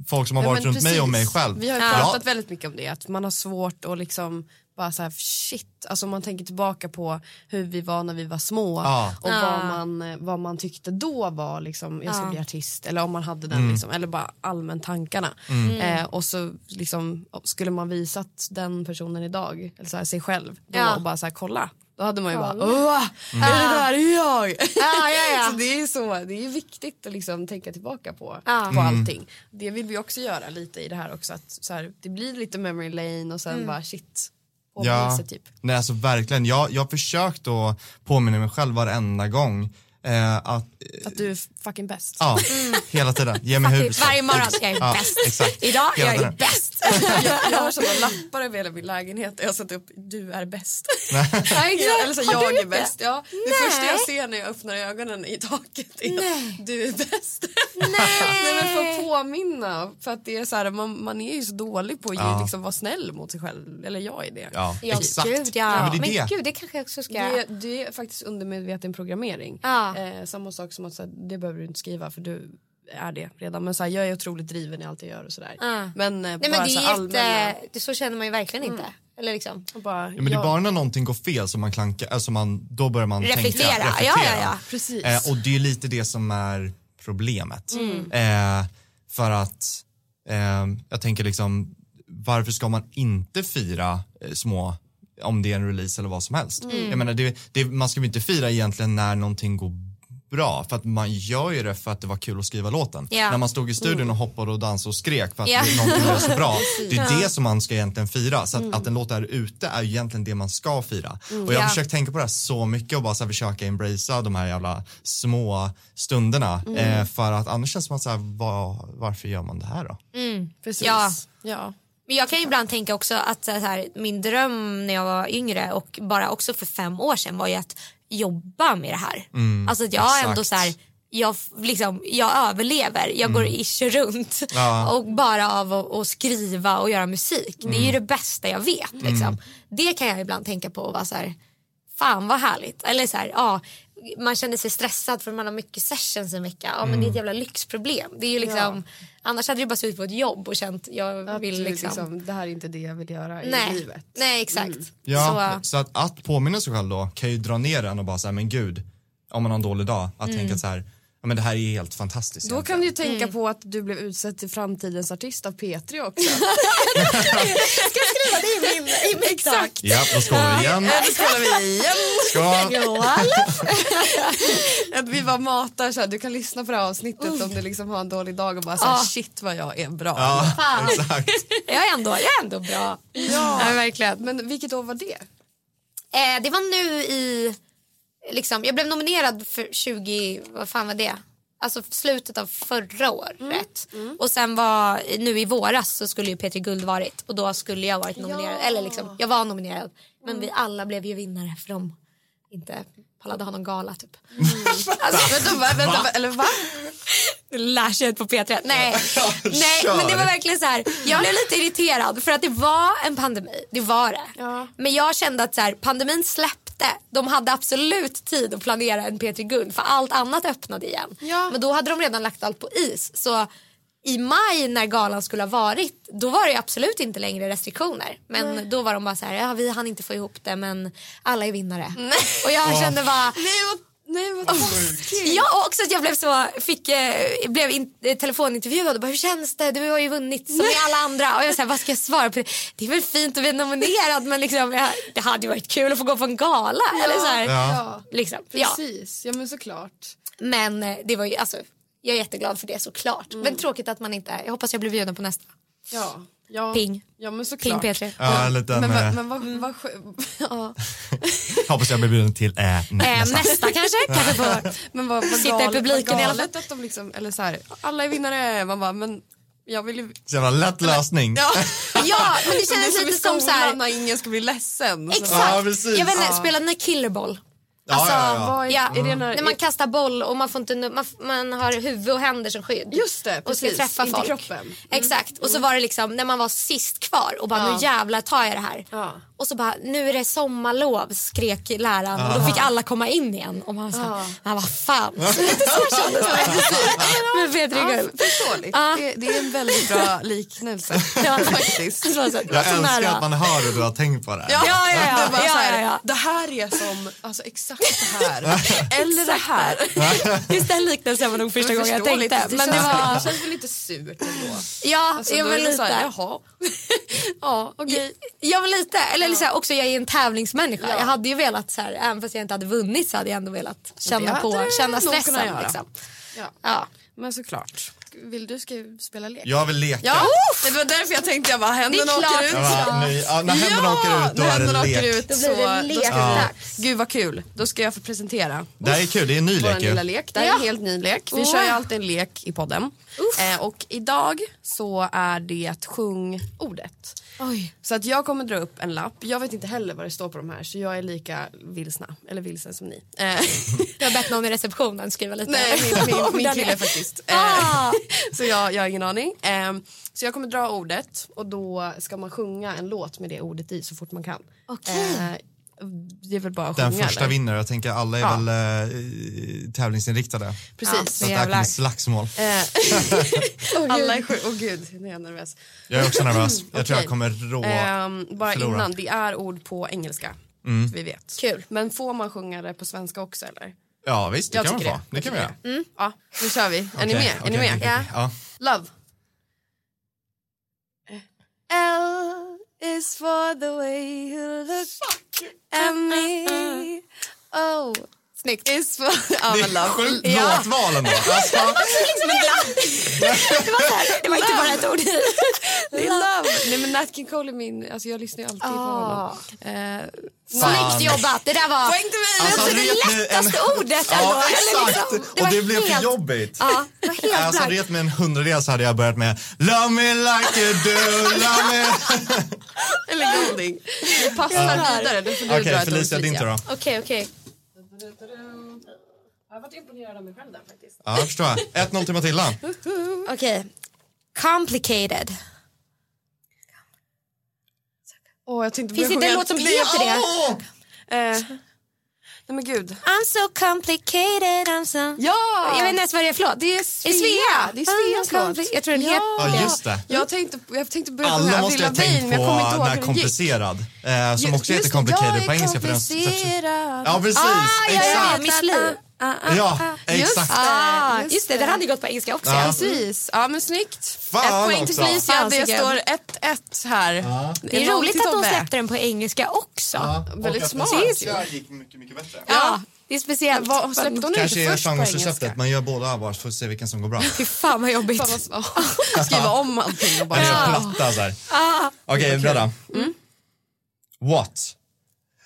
C: folk som har
D: Ja,
C: varit
D: men
C: runt mig och mig
D: precis.
C: själv.
D: Vi har ju
C: Ja.
D: pratat väldigt mycket om det, att man har svårt att liksom bara så här, shit, alltså om man tänker tillbaka på hur vi var när vi var små
C: Ja.
D: och Vad, man, vad man tyckte då var liksom, jag ska bli artist eller om man hade
C: Mm.
D: den liksom, eller bara allmänt tankarna.
A: Mm.
D: Eh, och så liksom, skulle man visat den personen idag, eller så här, sig själv, då
A: Ja.
D: och bara så här, kolla. Då hade man ju bara, åh,
C: Mm.
D: är det där jag?
A: Ja, ja, ja.
D: så det är så, det är viktigt att liksom tänka tillbaka på,
A: Ja.
D: på
C: Mm.
D: allting. Det vill vi också göra lite i det här också, att så här, det blir lite memory lane och sen bara shit, påminnelse typ.
C: Nej, alltså verkligen. Jag, jag har försökt att påminna mig själv varenda gång eh, att,
D: Att du är fucking bäst.
C: ja, hela tiden, ge mig huvud.
A: Varje morgon, jag är
C: Ja,
A: bäst.
C: exakt.
A: Idag,
C: Hela
A: jag är
C: tiden.
A: bäst.
D: Jag, jag har sådana lappar över hela min lägenhet där jag har satt upp du är bäst.
A: Ja, exakt.
D: Eller så
A: Har du
D: jag är
A: inte?
D: bäst. Ja, det första jag ser när jag öppnar ögonen i taket är
A: Nej.
D: du är bäst.
A: Nej.
D: Nej men för att påminna, för att det är så här, man, man är ju så dålig på att
C: Ja.
D: ju liksom vara snäll mot sig själv, eller jag är det.
C: Ja,
A: Ja,
C: exakt.
A: gud
C: Ja,
A: ja.
C: men det är det.
A: gud, det kanske jag också ska
D: Det,
A: göra.
D: det är faktiskt undermedveten programmering.
A: Ja.
D: Eh, samma sak som att så här, det behöver du inte skriva för du är det redan. Men så här, jag är otroligt driven i allt jag gör och sådär.
A: Ja.
D: Men, eh,
A: Nej men
D: bara
A: det
D: så
A: är
D: här, allmänna...
A: jätte, det, så känner man ju verkligen inte. Eller liksom.
D: och Bara,
C: Ja, men det är bara när någonting går fel som man klankar, alltså man, då börjar man
A: Reflektera.
C: tänka.
A: Ja, ja, ja.
D: Precis.
C: Eh, och det är lite det som är problemet. Eh, för att eh, jag tänker liksom, varför ska man inte fira eh, små om det är en release eller vad som helst. Jag menar, det, det, man ska väl inte fira egentligen när någonting går bra för att man gör ju det för att det var kul att skriva låten.
A: Ja.
C: När man stod i studion och hoppade och dansade och skrek för att
A: Ja.
C: det, någonting var så bra. Det är det som man ska egentligen fira. Så att, att en låt är ute är ju egentligen det man ska fira. Och jag har
A: Ja.
C: försökt tänka på det här så mycket och bara så här försöka embracea de här jävla små stunderna. Eh, för att annars känns det som att så här, va- varför gör man det här då?
D: Precis.
A: Ja.
D: Ja.
A: Men jag kan ju ibland tänka också att så här, min dröm när jag var yngre och bara också för fem år sedan var ju att jobba med det här. alltså att jag
C: exakt.
A: ändå så här, jag, f- liksom, jag överlever, jag går ish runt
C: Mm. Ja. Mm.
A: och bara av att och skriva och göra musik. Det är ju det bästa jag vet. Liksom. Det kan jag ibland tänka på och vara så här, fan vad härligt. Eller så här, ja, man känner sig stressad för man har mycket sessions en vecka. Ja, men Det är
C: Mm.
A: ett jävla lyxproblem. Det är ju liksom, Annars hade det bara suttit på ett jobb och känt jag
D: Att
A: vill
D: du
C: typ
A: liksom,
D: liksom, det här är inte det jag vill göra i
A: Nej,
D: livet.
A: nej exakt.
C: Mm. Ja,
A: Så,
C: så, att, att påminna sig själv då kan ju dra ner en och bara så här, men gud, om man har en dålig dag, att tänka så här, ja men det här är helt fantastiskt.
D: Då
C: egentligen.
D: kan du ju tänka på att du blev utsedd till framtidens artist av Petri också.
A: exakt.
C: Ja, då skålar vi igen.
D: Då skålar vi igen.
C: Skål.
D: Att vi bara matar så här, du kan lyssna på det här avsnittet om du liksom har en dålig dag och bara så här,
A: Ja.
D: shit vad jag är bra.
C: Ja,
A: Fan.
C: exakt.
A: Jag är ändå, jag är ändå bra.
D: Ja.
A: Ja, verkligen.
D: Men vilket år var det?
A: Eh, det var nu i, liksom, jag blev nominerad för 20, vad fan var det? Alltså slutet av förra året. Och sen var, nu i våras så skulle ju Petri Guld varit och då skulle jag varit nominerad. Eller liksom, jag var nominerad. Men vi alla blev ju vinnare för de inte pallade ha någon gala typ. Alltså,
D: Vänta, va, vänta, va, eller va?
A: lär sig ut på P3. Nej, nej
C: Kör.
A: men det var verkligen så här. Jag blev lite irriterad för att det var en pandemi. Det var det.
D: Ja.
A: Men jag kände att så här, pandemin släppte. De hade absolut tid att planera en P3 Guld för allt annat öppnade igen.
D: Ja.
A: Men då hade de redan lagt allt på is. Så i maj när galan skulle ha varit då var det ju absolut inte längre restriktioner. Men då var de bara så här, ja vi hann inte få ihop det men alla är vinnare. Och jag kände bara,
D: Nej vad, nej, vad taskigt.
A: Ja, och också att jag blev så, fick, eh, blev in, eh, telefonintervjuad och bara hur känns det? Du har ju vunnit som med alla andra. Och jag såhär, vad ska jag svara på det? Det är väl fint att bli nominerad men liksom, jag, det hade ju varit kul att få gå på en gala. Eller så här,
C: Ja.
D: Ja,
A: liksom. ja.
D: precis. Ja men såklart.
A: Men eh, det var ju, alltså, jag är jätteglad för det såklart.
C: Mm.
A: Men tråkigt att man inte är. Jag hoppas jag blir bjuden på nästa.
D: Ja, ja.
A: Ping.
D: Ja
A: Ping
D: men såklart. Mm.
A: P3.
C: Ja, en liten,
D: Men,
C: eh,
D: vad- men vad, vad skö- ja.
C: hoppas jag blir bjuden till eh,
A: Eh,
C: nästa.
A: nästa kanske? kanske på,
D: men vad, vad
A: Sitta i
D: galet,
A: publiken i
D: vad
A: alla
D: galet att de liksom, eller så här, alla är vinnare. Man bara, men jag vill ju...
C: Så jävla lätt lösning.
D: Ja,
A: Ja, men det
D: det
A: kändes
D: är som i
A: lite som så här.
D: skolan när ingen ska bli ledsen. Så-
C: Ja,
A: Exakt.
C: precis.
A: jag vet inte,
C: Ja.
A: spela den här killerboll.
C: Ja,
A: Alltså,
C: ja, ja.
D: Vad är,
A: Ja.
D: är det när,
A: När man kastar boll och man, får inte, man, man har huvud och händer som skydd.
D: Just det,
A: och ska
D: precis.
A: träffa
D: Inte
A: folk.
D: kroppen. Mm.
A: Exakt. Och så var det liksom när man var sist kvar och bara nu jävlar tar jag det här.
D: Ja.
A: Och så bara nu är det sommarlov skrek läraren och då fick alla komma in igen. Och man sa, men vad fan. Lite så kändes det. Men Petri är
D: Ja,
A: gullig.
D: förståeligt.
A: Ja.
D: Det, det är en väldigt bra liknelse.
A: Ja.
D: Faktiskt.
A: Så- så-
C: Jag
A: så
C: älskar
A: nära.
C: att man hör och du har tänkt på det här.
A: Ja, ja, ja.
D: Det, var
A: Ja,
D: så här,
A: ja, ja.
D: det här är som, alltså exakt det här. Eller det här.
A: Just den liknelsen var nog första gången jag
D: Förståeligt.
A: tänkte. Men det
D: känns,
A: var,
D: det känns väl lite surt ändå.
A: ja,
D: Alltså,
A: jag
D: då
A: var
D: är det så här,
A: lite.
D: Jaha. ja, okej.
A: Ja men lite, eller liksom, också jag är en tävlingsmänniska. Jag hade ju velat så här, även fast jag inte hade vunnit så hade jag ändå velat känna
D: hade
A: på,
D: du
A: känna
D: nog kunnat
A: stressen
D: göra.
A: liksom.
D: Ja.
A: Ja.
D: Men såklart. Vill du ska vi spela lek?
C: Jag vill leka.
D: Ja, det var därför jag tänkte jag bara
A: Det
D: händerna
A: är
D: åker
A: klart.
D: ut.
C: Jag bara, nej, ja, när händerna åker ut då
D: när
C: är
D: händerna
C: det
D: åker
C: lek.
D: ut,
A: Då blir det
D: så-
A: lekdags.
D: Gud vad kul, då ska jag få presentera
C: Det här är kul, det är en ny
D: vår
C: lek
D: lilla
C: ju.
D: lek. Det här är en
A: Ja.
D: helt ny lek. Vi
A: Oh.
D: kör ju alltid en lek i podden. Eh, och idag så är det sjung ordet.
A: Oj.
D: Så att jag kommer dra upp en lapp. Jag vet inte heller vad det står på de här så jag är lika vilsna, eller vilsen som ni. Eh,
A: Jag har bett någon i receptionen skriva lite.
D: Nej, min, min,
A: om
D: min
A: den
D: kille
A: är-
D: faktiskt.
A: Ah.
D: Eh, så jag, jag har ingen aning. Eh, så jag kommer dra ordet och då ska man sjunga en låt med det ordet i så fort man kan.
A: Okej.
D: Eh, det är väl bara att
C: Den
D: sjunga
C: första
D: eller?
C: vinner, jag tänker alla är
D: Ja.
C: väl eh, tävlingsinriktade.
D: Precis.
C: Så att det här
A: Jävlar.
C: kommer slagsmål.
D: Eh, Alla är sjuka. Åh gud, nu är jag nervös.
C: Jag är också nervös, jag tror
D: Okej.
C: jag kommer rå.
D: Ehm, bara
C: förlora.
D: innan, det är ord på engelska.
C: Mm.
D: Så Vi vet.
A: Kul.
D: Men får man sjunga det på svenska också eller?
C: Ja visst, det
D: jag
C: kan man
D: tycker
C: få.
D: det.
C: Det kan vi göra.
D: Ja, nu kör vi. Är ni
C: Okej,
D: med? är ni med?
C: okej, okej, okej. Ja.
D: Love.
G: L is for the way you look at me. Oh,
A: Snyggt.
D: E Is for... ja,
C: Det
D: men
C: är
D: love.
C: sjukt låtval ändå. Alltså,
A: Det var inte bara ett ord.
D: Det är love. Nej men Nat King Cole är min, alltså jag lyssnar ju alltid på
A: Ah.
D: honom. Eh,
C: fan.
A: Snyggt jobbat. Det där var
D: Poäng till mig!
A: alltså, det
C: vet ni
A: lättaste ordet ändå.
C: Ja
A: Eller
C: exakt,
A: liksom,
C: och
A: var
C: det blev för
A: helt-
C: jobbigt.
A: Ja, det var helt
C: Alltså
A: blankt.
C: vet med en hundradel så hade jag börjat med Love me like you do, love me
D: Eller Golding. Vi passar vidare, då får du
C: Okej
D: dra ett ord,
C: Felicia, din tur då.
A: Okej, okej.
D: Jag har varit imponerad av mig själv där faktiskt.
C: Ja, jag förstår. 1-0 till Matilda.
A: Okej. Complicated.
D: Åh, jag tänkte
A: Finns det inte en låt som heter det?
D: Eh, nej men gud.
A: I'm so complicated, I'm so...
D: Ja!
A: Jag vet inte ens vad det är för låt.
D: Det är Svea. Det är Sveas
A: I'm
D: låt.
A: compli- Jag tror den
D: Ja.
A: heter...
C: Ja, just det.
D: Jag tänkte, jag tänkte börja
C: Alla
D: sjunga
C: måste ju
D: Avril
C: ha tänkt
D: Lavigne,
C: på
D: men jag kommer inte ihåg
C: när
D: hur den gick.
C: komplicerad, eh, som
D: Ju-
C: också heter
D: just-
G: jag
C: complicated på
G: är
C: engelska. För den,
G: komplicerad.
C: ja, precis.
A: Ah, ja, ja,
C: exakt.
A: Miss Li.
C: Ja,
D: Ah, Just
C: exakt.
A: Ah,
D: Just
A: just, det, den hade ju gått på engelska också.
C: Ja.
A: Ja.
D: Precis. Ja, men snyggt.
C: Fan
D: ett poäng till
C: också.
D: Felicia.
A: Fan,
D: Det
A: Sigge.
D: står 1-1 här.
A: Det är
D: noll till
A: roligt att de
D: Tobbe.
A: släppte den på engelska också. Ja,
D: Ah, väldigt smart.
C: Jag gick mycket, mycket bättre.
A: det är speciellt.
D: Vad, släppte hon inte
C: Kanske är
D: först på engelska?
C: genrereceptet, man gör båda bara för att se vilken som går bra.
A: Fy fan vad jobbigt.
D: Fan, vad smart. Skriva om allting och bara...
C: Man gör platta så här.
D: Ah.
C: Okej, bra då.
D: Mm.
C: What?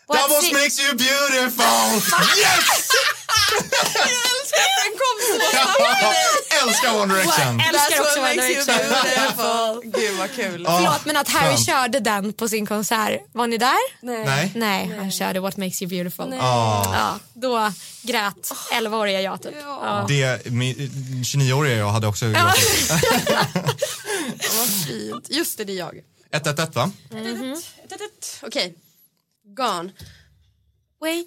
C: That
A: What's
C: was
A: it?
C: makes you beautiful! Yes!
D: Den kom så
C: Älskar One Direction!
A: Älskar också One Direction.
D: beautiful. Gud vad kul.
A: Förlåt men att Harry körde den på sin konsert. Var ni där?
C: Nej?
A: Nej, han körde What makes you beautiful.
C: Ah.
A: Ja, då grät 11-åriga jag typ. Ja.
C: Det, min 29-åriga jag hade också gråtit.
D: Vad fint. Just det, det är jag.
C: 1-1-1 va?
D: Mm-hmm. Okej. Gone.
A: Wait.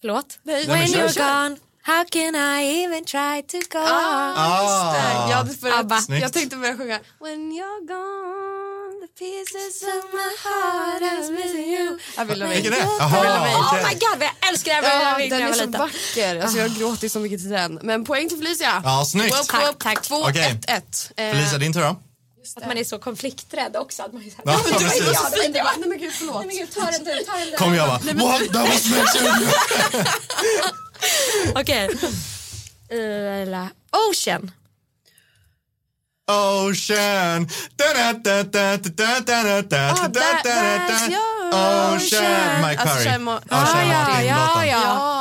A: Förlåt?
D: Nej,
C: men
A: When
C: kör,
A: you're
D: kör.
A: gone, how can I even try to go on?
C: Ah.
D: Jag, hade börjat,
A: Abba.
D: jag
C: Snyggt.
D: tänkte börja sjunga.
G: When you're gone, the pieces of my
A: Heart is missing you.
D: Avril Lavigne.
C: Vilken är det?
A: Oh
C: Jaha,
A: my
C: okej.
A: god, vad jag älskar Avril
D: Ja,
A: Lavigne när
D: den
A: jag
D: är
A: var
D: så
A: liten.
D: vacker. Alltså, jag har gråtit så mycket till den. Men poäng till Felicia.
C: Ja, snyggt.
D: Woop,
A: Tack,
D: woop.
A: tack.
D: 2-1-1.
C: Okej.
D: Eh,
C: Felicia, din tur då?
A: Att man är så konflikträdd också. Att man är så
C: Ja,
A: här, "Nej, men det var
C: precis.
A: inte jag, det var inte jag."
D: Nej men gud, förlåt.
A: Men gud, ta den du, ta den du.
C: Kom jag bara, what? That was makes you beautiful!
A: Okej. Ila- Ocean.
D: Ah,
C: Ocean.
D: that- that's your
C: Ocean. Mike
D: Alltså,
C: Perry.
D: Shemo-
C: Ocean Martin-låten.
A: ja, ja.
D: Ja.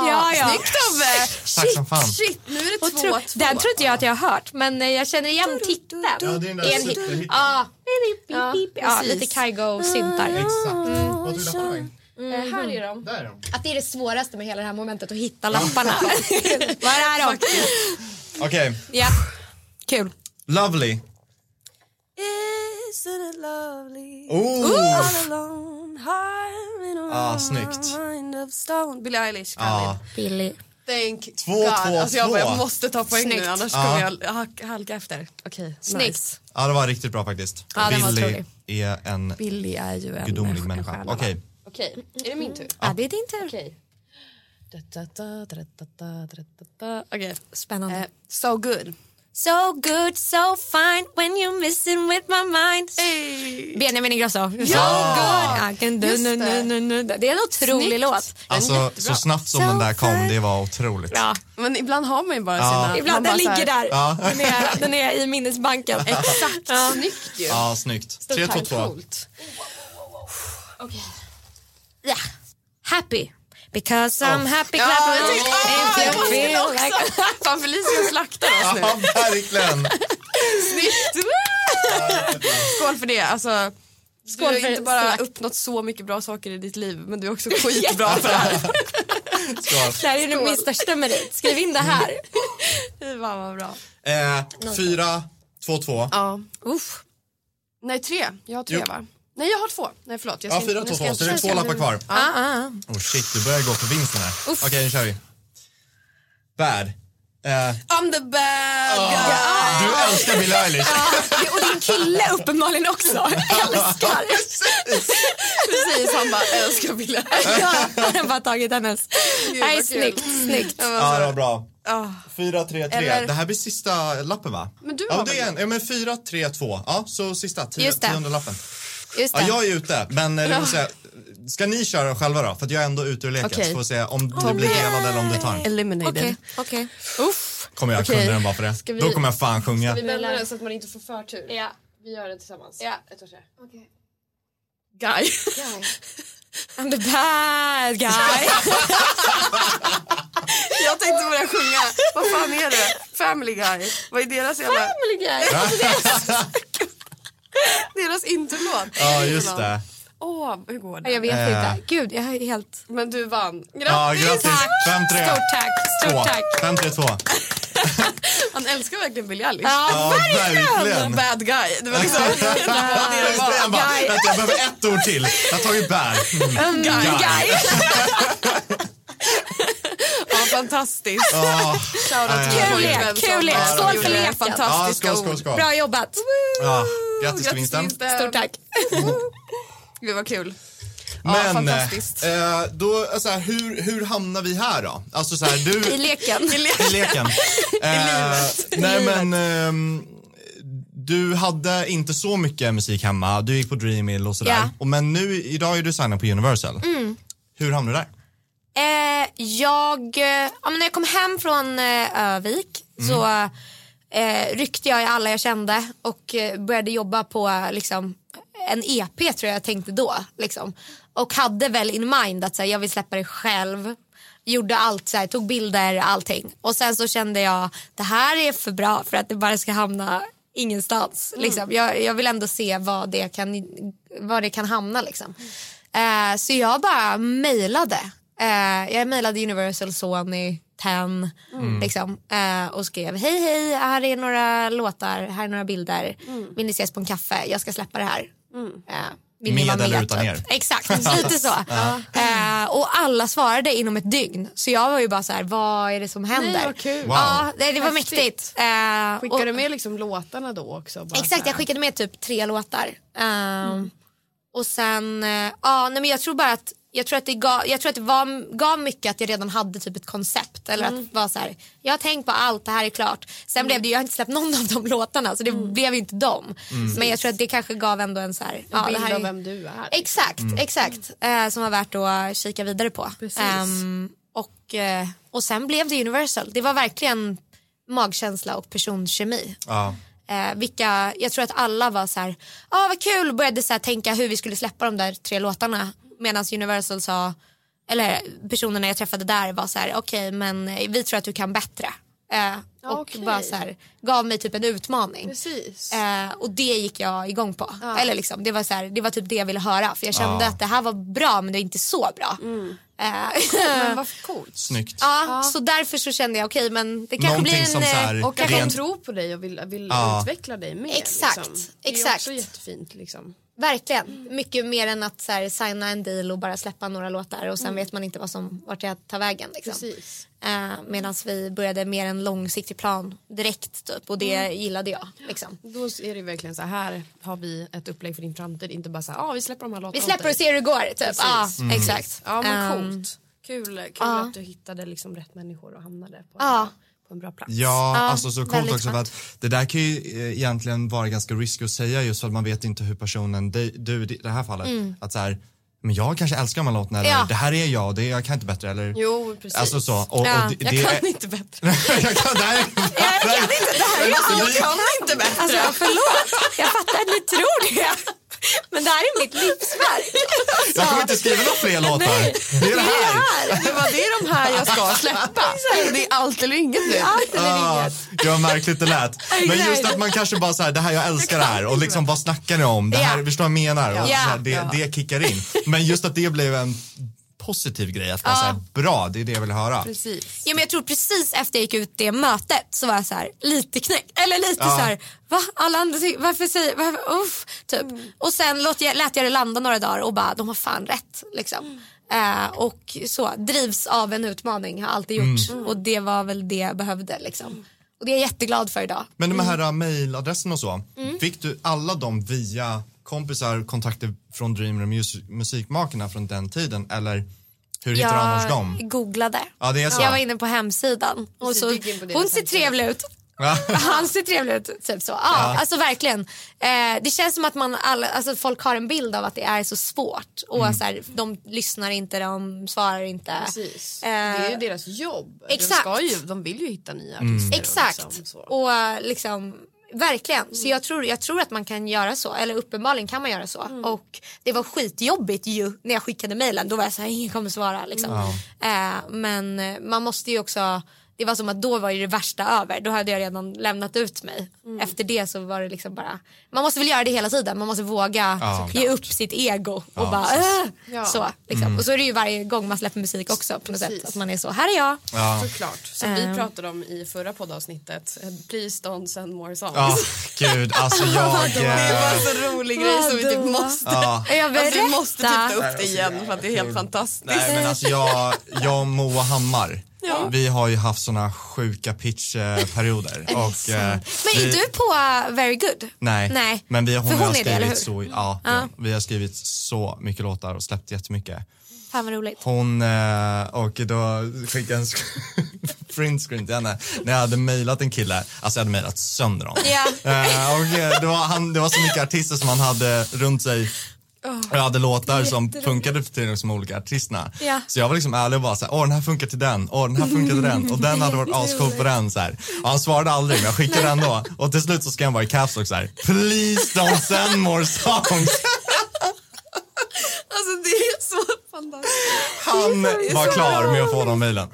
A: ja, ja.
D: Snyggt Tobbe!
C: exakt som fan.
B: Shit, nu är det
A: Och
B: två,
A: tro,
B: två.
A: den tror inte jag att jag har hört men eh, jag känner igen titeln.
C: Ja, det är den där
A: I en-
C: superhitten.
A: Ja, beep, beep, beep, beep. Mm. ja,
B: precis.
A: lite Kygo-syntar.
C: Exakt. Mm, Vad tog lapparna vägen?
B: Eh, här är de.
C: Mm. Där är de.
A: Att det är det svåraste med hela det här momentet att hitta lapparna. Var är de?
C: Okej,
A: Ja. Kul.
C: Lovely.
G: Isn't it lovely?
C: Oh!
G: All alone, high in a
C: Ah,
G: room,
C: snyggt.
G: mind of stone. Billie Eilish,
C: Ja.
G: Khalid.
A: Billy.
D: Thank
C: Två,
D: God.
C: två,
D: alltså jag,
C: två. Ah.
D: bara, jag måste ta poäng
A: Snyggt.
D: nu annars
C: Ja.
D: kommer jag ha- halka efter. Okej,
A: Snyggt.
D: Nice.
C: ja, det var riktigt bra faktiskt.
A: Ja, den var
C: Billy
A: otrolig.
C: är en
D: Billy är ju en
C: gudomlig människa. Okej,
D: Okej, är det min tur?
A: Ja, det är din tur.
D: Okej. Da-da-da, da-da-da, da-da-da. Okej.
A: Spännande.
D: Eh, So good.
A: So good, so fine when you're missing with my mind. Benjamin Ingrosso. So good. I can do,
D: Just
A: nu, nu,
D: det.
A: nu, nu. det är en otrolig
D: Snyggt.
A: låt.
C: alltså så snabbt som den där kom, det var otroligt.
A: Ja.
D: Men ibland har man ju bara
C: Ja.
D: sina... man
A: Ibland,
D: bara
A: den
D: så här-
A: ligger där. Den, är, den är i minnesbanken. Exakt. Ja.
D: Snyggt ju.
C: Ja, snyggt. 3, 2, 2.
D: Coolt.
A: Ja. Happy. Because I'm happy clap
D: jag tänkte-
A: if
D: jag
A: you
D: måste
A: feel like...
D: Fan Felicia slaktar oss nu.
C: Ja, verkligen.
D: Snyggt! Skål för det. Alltså,
A: Skål
D: du har
A: för
D: inte bara
A: slakt.
D: uppnått så mycket bra saker i ditt liv men du är också skitbra på det här.
C: Skål.
A: Det här är nog min största merit. Skriv in det här.
D: Fy fan vad bra.
C: Eh, 4, 2, 2.
D: Ja.
A: Uff.
D: Nej tre, jag har tre
C: Jo.
D: va? Nej jag har två. Nej förlåt. Jag
C: Ja,
D: ska-
C: 4,
D: nu
C: 2,
D: ska
C: 2.
D: jag-
C: Så det är
D: jag ska-
C: två lappar kvar.
A: Ah, ah. ah.
C: Oh shit, du börjar gå på vinsten här. Okej, nu kör vi. Bad. Eh,
D: I'm the bad
C: Ah,
D: guy.
C: Du älskar Billie Eilish.
A: Och din kille uppenbarligen också. Älskar.
D: Precis, han bara älskar Billie
A: Ja, Han har bara tagit hennes. Nej, snyggt, snyggt.
C: Ja, det var bra.
D: Alltså, Ja.
C: 4, 3, 3.
D: Eller-
C: Det här blir sista lappen va?
D: Men du
C: ja,
D: har
C: det
D: väl
C: är en, ja, men 4, 3, 2. Ja, så sista, tio,
A: Just det.
C: tionde lappen.
A: Just
C: Ja,
A: det.
C: jag är ute, men eh, det vill säga, ska ni köra själva då? För att jag är ändå ute ur leken.
D: Okej.
C: Så får vi se om det blir delad eller om det tar.
D: Eliminated.
A: Okej, okej.
D: Uff.
C: Kommer jag
D: Okej.
C: kunna den bara för det?
D: Ska vi-
C: Då kommer jag fan sjunga.
D: Vi vänder den så att man inte får förtur.
A: Ja.
D: Vi gör den tillsammans.
A: Ja.
D: Ett, två, tre. Guy.
A: I'm the bad guy.
D: jag tänkte börja sjunga. Vad fan är det? Family Guy. Vad är deras jävla...
A: Family guy.
D: Deras introlåt.
C: Ja, just det.
D: Åh, hur går
A: Jag
D: det?
A: vet
C: Eh.
A: inte. Gud, jag är helt...
D: Men du vann.
C: Ja,
D: Grattis!
C: grattis. 5, 3,
A: Stort tack. Stort tack.
C: 5, 3, 2.
D: Han älskar verkligen Billie Eilish.
A: Ja,
C: Ja, verkligen.
D: Bad guy. Det var liksom... det var det det
C: Jag
D: var.
C: bara, vänta, jag behöver ett ord till. Jag har tagit bär. Mm, guy.
A: guy.
D: Ja, fantastiskt.
C: Ja,
D: Shoutout till
C: Kul
D: min
C: lek,
D: pojkvän
A: kul lek. Skål
D: som bara
A: för
D: gjorde
A: leken.
C: ja,
D: Fantastiska
C: skål, skål,
D: ord.
C: skål.
A: Bra jobbat.
C: Ja, grattis till
D: Grattis,
C: vinsten.
D: Vinsten.
A: Stort tack.
D: Gud vad kul. Ja,
C: Men
D: fantastiskt.
C: eh, då, så här, hur, hur hamnar vi här då? Alltså så här,
A: I
C: du
A: leken.
C: i leken. Eh, nej men ehm, du hade inte så mycket musik hemma, du gick på Dreamhill och sådär.
A: Ja.
C: Och, men nu, idag är du signad på Universal. Hur hamnade du där?
A: Eh, jag, eh, ja, men när jag kom hem från eh, Övik
C: Mm.
A: så eh, ryckte jag i alla jag kände och eh, började jobba på eh, liksom, en EP tror jag jag tänkte då. Liksom. Och hade väl in mind att så här, jag vill släppa det själv. Gjorde allt, så här, tog bilder, allting. Och sen så kände jag det här är för bra för att det bara ska hamna ingenstans. Liksom. Jag, jag vill ändå se vad det kan, vad det kan hamna. Liksom. Eh, så jag bara mejlade Eh, jag mejlade Universal, Sony, Ten liksom, eh, och skrev hej hej, här är några låtar, här är några bilder. Vill ni ses på en kaffe? Jag ska släppa det här. Eh, vill ni
C: Med
A: vara
C: eller utan
A: Typ.
C: er?
A: Exakt, lite så. eh, och alla svarade inom ett dygn. Så jag var ju bara så här, vad är det som händer?
D: vad kul.
C: Wow.
A: Ja, det, det var
D: Häftigt.
A: mäktigt. Eh,
D: Skickar
A: och-
D: du med liksom låtarna då också? Bara så
A: Exakt,
D: här?
A: jag skickade med typ tre låtar. Ehm,
D: Mm.
A: Och sen, eh, ja, nej, men jag tror bara att jag tror att det, gav, jag tror att det var, gav mycket att jag redan hade typ ett koncept. Eller
D: Mm.
A: att vara så här, jag har tänkt på allt, det här är klart. Sen blev det ju, jag har inte släppt någon av de låtarna så det
D: Mm.
A: blev ju inte dem. Men jag tror att det kanske gav ändå en så här, ja,
D: bild
A: det här är-
D: av vem du är.
A: Exakt, exakt. Eh, som var värt att kika vidare på.
D: Precis.
A: Ehm, och, eh, och sen blev det Universal. Det var verkligen magkänsla och personkemi.
C: Ja.
A: Eh, vilka, jag tror att alla var så här, ah, vad kul, började så här, tänka hur vi skulle släppa de där tre låtarna. Medan Universal sa, eller personerna jag träffade där var så här, okej men eh, vi tror att du kan bättre. Eh, och
D: Okej.
A: bara så här, gav mig typ en utmaning.
D: Precis.
A: Eh, och det gick jag igång på. Eller liksom, det, var så här, det var typ det jag ville höra för jag kände
C: Ja.
A: att det här var bra men det var inte så bra. Eh,
D: Men vad coolt.
C: Snyggt.
A: ja, Så därför så kände jag okej men det kanske
C: Någonting
A: blir en...
C: som så här,
A: eh,
D: Och att
C: Rent-
D: de tror på dig och vill, vill
C: Ja.
D: utveckla dig mer.
A: Exakt,
D: Liksom. Det är
A: exakt.
D: också jättefint. Liksom.
A: Verkligen, mycket mer än att så här, signa en deal och bara släppa några låtar och sen vet man inte vad som, vart jag tar vägen. Liksom.
D: Precis.
A: Eh, Medan vi började mer en långsiktig plan direkt typ, och det gillade jag. Liksom.
D: Då är det verkligen så här, här har vi ett upplägg för din framtid. Inte bara så här, ah, vi släpper de här låtarna
A: Vi
D: åt
A: släpper
D: dig.
A: och ser hur det går. Typ. Ja,
C: Mm.
A: exakt.
D: Ja men
A: Ehm,
D: coolt. Kul, kul att du hittade liksom rätt människor och hamnade på,
A: Ja.
D: en, på en bra plats.
C: Ja, alltså så coolt
A: väldigt
C: också för att det där kan ju eh, egentligen vara ganska risky att säga just för att man vet inte hur personen, dig- du i det här fallet, att så här, men jag kanske älskar de här låtarna eller
A: Ja.
C: det här är jag, det, jag kan inte bättre eller
D: Jo precis.
C: Alltså så. Och,
A: Ja,
C: och det,
D: jag
C: det
D: kan
C: är,
D: inte bättre.
C: jag kan nej.
A: Jag kan inte det här. Jag,
D: Jag kan inte bättre.
A: alltså, förlåt, jag fattar att ni tror det. Men det här är mitt livsverk.
C: Jag kommer inte skriva några fler låtar. Det är det här.
D: Det, var, det är de här jag ska släppa. Det är allt eller inget nu.
A: Allt eller
C: Ah,
A: inget.
C: gud vad märkligt det lät. Men
A: Exakt.
C: just att man kanske bara så här, det här jag älskar det här och liksom vad snackar ni om? Det här,
A: Ja.
C: förstår vad jag menar? Och
A: Ja.
C: så här, det, det kickar in. Men just att det blev en positiv grej, att man säger bra, det är det jag vill höra.
D: Precis.
A: Ja, men jag tror precis efter jag gick ut det mötet så var jag så här, lite knäckt. Eller lite
C: Ja.
A: så här, va? Alla andra tycker, varför säger, varför, uff, typ. Och sen låt jag, lät jag det landa några dagar och bara, de har fan rätt. Liksom. Eh, och så, drivs av en utmaning har jag alltid gjort. Och det var väl det jag behövde liksom. Och det är jag jätteglad för idag.
C: Men de här mm. mejladressen och så,
A: Mm.
C: fick du alla dem via kompisar, kontakter från Dreamroom Mus- musikmakarna från den tiden eller hur hittar du annars dem?
A: Jag googlade.
C: Ja, det är så.
A: Jag var inne på hemsidan. Och så,
D: gick in på deras
A: hon ser trevlig ut.
C: Ja.
A: Han ser trevlig ut. Typ så. Ja, Alltså verkligen. Eh, det känns som att man alla, alltså, folk har en bild av att det är så svårt. Och
C: Mm.
A: så här, de lyssnar inte, de svarar inte.
D: Precis.
A: Eh,
D: det är ju deras jobb. De,
A: exakt.
D: ska ju, de vill ju hitta nya
C: Mm.
D: artister. och
A: Exakt.
D: Liksom, så.
A: Och eh, liksom Verkligen, så jag tror, jag tror att man kan göra så, eller uppenbarligen kan man göra så.
D: Mm.
A: Och det var skitjobbigt ju när jag skickade mejlen, då var jag såhär, ingen kommer svara liksom. Eh, men eh, man måste ju också, det var som att då var ju det värsta över, då hade jag redan lämnat ut mig.
D: Mm.
A: Efter det så var det liksom bara, man måste väl göra det hela tiden, man måste våga
C: Ja.
A: ge upp sitt ego och bara "Äh!" så. Liksom. Och så är det ju varje gång man släpper musik också på något sätt,
D: Mm. Precis.
A: att man är så, här är jag.
C: Ja.
D: Såklart. Som
A: Eh.
D: vi pratade om i förra poddavsnittet. Please don't send more songs.
C: ja, gud alltså jag...
D: Det var
C: eh,
D: en så rolig grej som vi typ måste...
C: ja. alltså,
A: Jag
D: Alltså, vi måste typ ta
A: berättar.
D: upp det igen för att det är helt fantastiskt.
C: Nej men alltså jag, jag och Moa Hammar, vi har ju haft såna sjuka pitchperioder. Och, eh,
A: Men är
C: vi,
A: du på eh, Very Good?
C: Nej,
A: Nej.
C: men vi, hon,
A: För
C: vi
A: hon
C: har
A: är det, eller hur?
C: skrivit så, ja, ja, vi har skrivit så mycket låtar och släppt jättemycket.
A: Fan vad roligt.
C: Hon, eh, och då skickade jag en sk- print screen till henne när jag hade mejlat en kille, alltså jag hade mejlat sönder honom.
A: Ja.
C: Eh, och eh, det, var han, det var så mycket artister som han hade runt sig
A: Oh.
C: och jag hade låtar som funkade för till de olika artisterna.
A: Ja.
C: Så jag var liksom ärlig och bara så här, åh den här funkar till den, åh den här funkar till den och den hade varit ascool på den så här. Och han svarade aldrig men jag skickade ändå och till slut så skrev han bara i caps lock så här, please don't send more songs.
D: Alltså det är så fantastiskt.
C: Han var klar med att få de mejlen.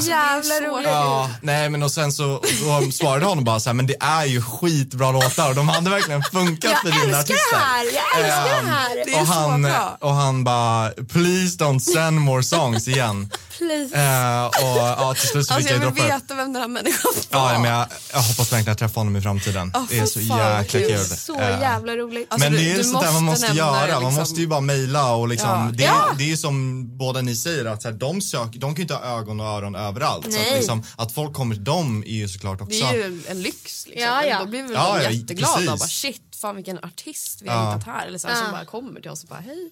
A: Så jävla roligt.
C: Ja, nej men och sen så och svarade honom bara så här, men det är ju skitbra låtar och de hade verkligen funkat
A: Jag
C: för dina
A: älskar det
C: artister. Ehm,
A: här, jag älskar det här.
D: Det är
C: Eh, och
D: så
C: han, eh,
D: bra.
C: Och han bara, please don't send more songs igen.
A: Please.
C: Eh, och ja, till slut så fick
D: Alltså jag
C: jag
D: vill
C: droppa det.
D: veta vem den här människan var.
C: Ja, ja, men jag, jag hoppas verkligen att träffa honom i framtiden. det är så jäkla kul.
A: Så
C: Eh,
A: jävla roligt.
D: Alltså,
C: men
D: du-
C: det är
D: du
C: ju sånt där man
D: måste
C: måste
D: nämna
C: göra.
D: det,
C: Man
D: liksom.
C: måste ju bara mejla och liksom.
D: Ja.
C: Det, är,
A: Ja.
C: det är ju som båda ni säger att så här, de, sök, de kan ju inte ha ögon och öron överallt. Så att,
A: Nej.
C: liksom, att folk kommer till dem är ju såklart också.
D: Det är ju en lyx. Liksom.
A: Ja, ja.
D: Då blir vi väl
C: Ja, ja,
D: jätteglada och
C: precis.
D: bara shit, fan vilken artist vi har
C: Ja. Mm.
D: hittat här. Eller så här, Som bara kommer till oss och bara hej.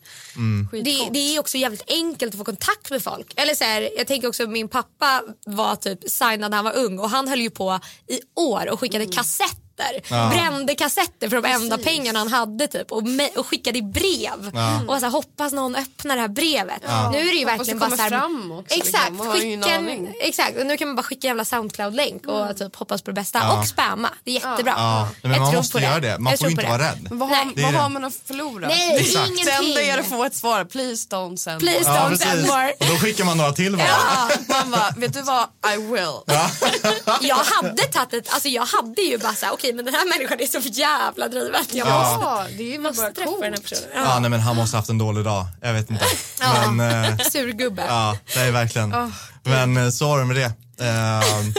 D: Skitcoolt.
A: Det, det är också jävligt enkelt att få kontakt med folk. Eller så här, jag tänker också
D: Mm.
A: min pappa var typ signad när han var ung och han höll ju på i år och skickade kassetter kassetter. Brände kassetter för de enda pengarna han hade typ och, me- och skickade i brev. Och var så här, hoppas någon öppnar det här brevet. Nu är det ju verkligen bara
D: kommer
A: så här,
D: fram också, liksom.
A: Exakt,
D: Man har ju ingen
A: skicka en,
D: aning. Mm.
A: exakt. Och nu kan man bara skicka en jävla Soundcloud-länk och typ hoppas på det bästa
C: Ja.
A: och spamma. Det är jättebra.
C: Ja, men
A: Jag
C: man
A: tror
C: måste
A: på
C: göra det. Man
A: Jag
C: får
A: tror
C: ju inte
A: på
C: vara
A: det.
C: rädd.
D: Men vad
A: Nej.
D: har,
C: Det är
D: vad har
C: det.
D: man att förlora?
A: Nej,
C: Exakt.
D: Det enda är att
A: ingenting.
D: få ett svar. Please don't send
A: Please
D: more.
A: don't
C: Ja,
A: send
C: precis.
A: more.
C: Och då skickar man några till varandra.
D: Man bara, vet du vad? I will.
A: Jag hade tagit ett, alltså jag hade ju bara såhär, okej men den här människan är så jävla driven. Jag måste,
D: Ja, det är ju bara
A: måste träffa
D: coolt.
A: den här personen.
C: Ja. nej, men han måste haft en dålig dag. Jag vet inte.
A: Ja.
C: Men, eh,
A: Surgubbe.
C: ja, det är verkligen. men eh, så har de med det. Ehm,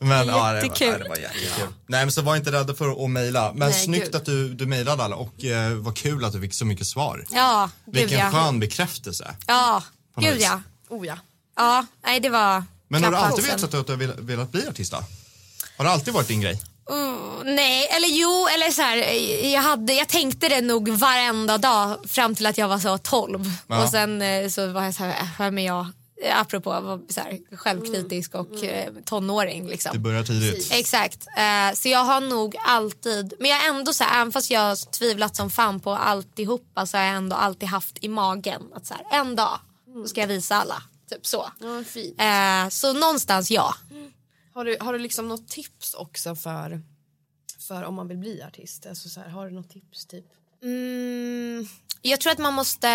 C: men, ja, det var,
A: Jättekul.
C: ja, det var jättekul. Nej, men så var inte rädda för att mejla. Men snyggt att du, du mejlade alla och eh, vad kul att du fick så mycket svar.
A: Ja, gud
C: Vilken
A: ja.
C: skön bekräftelse.
A: Ja,
C: något
A: gud
C: vis.
A: ja.
D: Oh, ja.
A: Ja, nej det var
C: Men har du
A: klapp på
C: alltid
A: axeln.
C: vetat att du har velat- velat bli artist då? Har det alltid varit din grej?
A: Mm, nej, eller jo, eller så här, eh, jag, hade, jag tänkte det nog varenda dag fram till att jag var så 12.
C: Ja.
A: Och sen eh, så var jag så här, äh, vem är jag? Eh, Apropå att vara så här, självkritisk och eh, tonåring liksom.
C: Mm. Det börjar tidigt.
A: Exakt. Eh, så jag har nog alltid, men jag har ändå så här, även fast jag har tvivlat som fan på alltihopa så har jag ändå alltid haft i magen att så här, en dag så ska jag visa alla. Typ så.
D: Ja, fint.
A: Eh, så någonstans ja.
D: Har du, har du liksom något tips också för, för om man vill bli artist? Alltså så här, har du något tips typ?
A: Mm, jag tror att man måste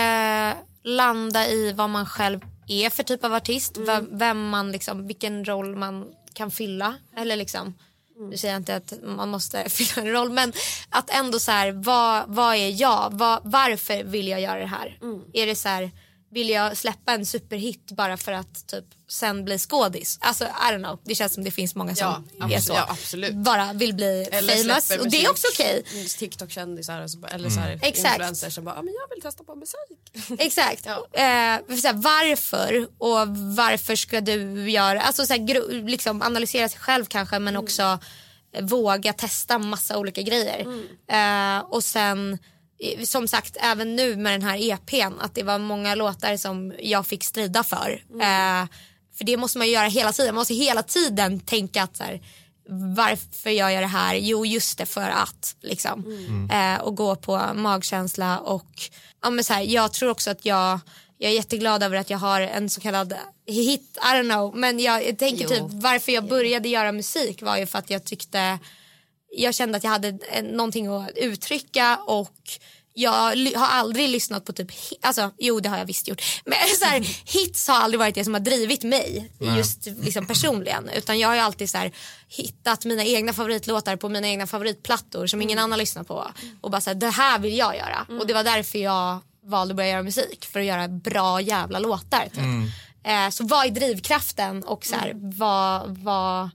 A: landa i vad man själv är för typ av artist.
D: Mm.
A: Vem, vem man liksom, vilken roll man kan fylla. Eller liksom,
D: Mm.
A: Nu säger jag inte att man måste fylla en roll men att ändå så här, vad, vad är jag? Vad, varför vill jag göra det här?
D: Mm.
A: Är det så här, vill jag släppa en superhit bara för att typ sen bli skådis? Alltså I don't know, det känns som det finns många som
D: Ja,
A: är
D: absolut.
A: så.
D: Ja, absolut.
A: Bara vill bli famous
D: släpper
A: och det
D: musik.
A: är också okej.
D: Mm, TikTok-kändisar och så, eller så
C: Mm.
D: här,
A: Exakt.
D: influencers som bara, ah, men jag vill testa på musik.
A: Exakt. Eh, för så här, varför och varför ska du göra... Alltså så här, gro- liksom analysera sig själv kanske men också eh, våga testa massa olika grejer. Eh, och sen eh, som sagt även nu med den här EPn att det var många låtar som jag fick strida för. Eh, för det måste man ju göra hela tiden. Man måste hela tiden tänka att så här, varför jag gör det här? Jo, just det, för att. Liksom. Eh, och gå på magkänsla och ja, men så här, jag tror också att jag, jag är jätteglad över att jag har en så kallad hit, I don't know, men jag tänker
D: Jo.
A: typ varför jag började göra musik var ju för att jag tyckte jag kände att jag hade eh, någonting att uttrycka och jag ly- har aldrig lyssnat på typ, hi- alltså jo det har jag visst gjort, men så här, hits har aldrig varit det som har drivit mig just liksom personligen utan jag har ju alltid så här, hittat mina egna favoritlåtar på mina egna favoritplattor som ingen annan lyssnar på och bara så här, det här vill jag göra och det var därför jag valde att börja göra musik för att göra bra jävla låtar typ. Eh, så vad är drivkraften och så här, vad, vad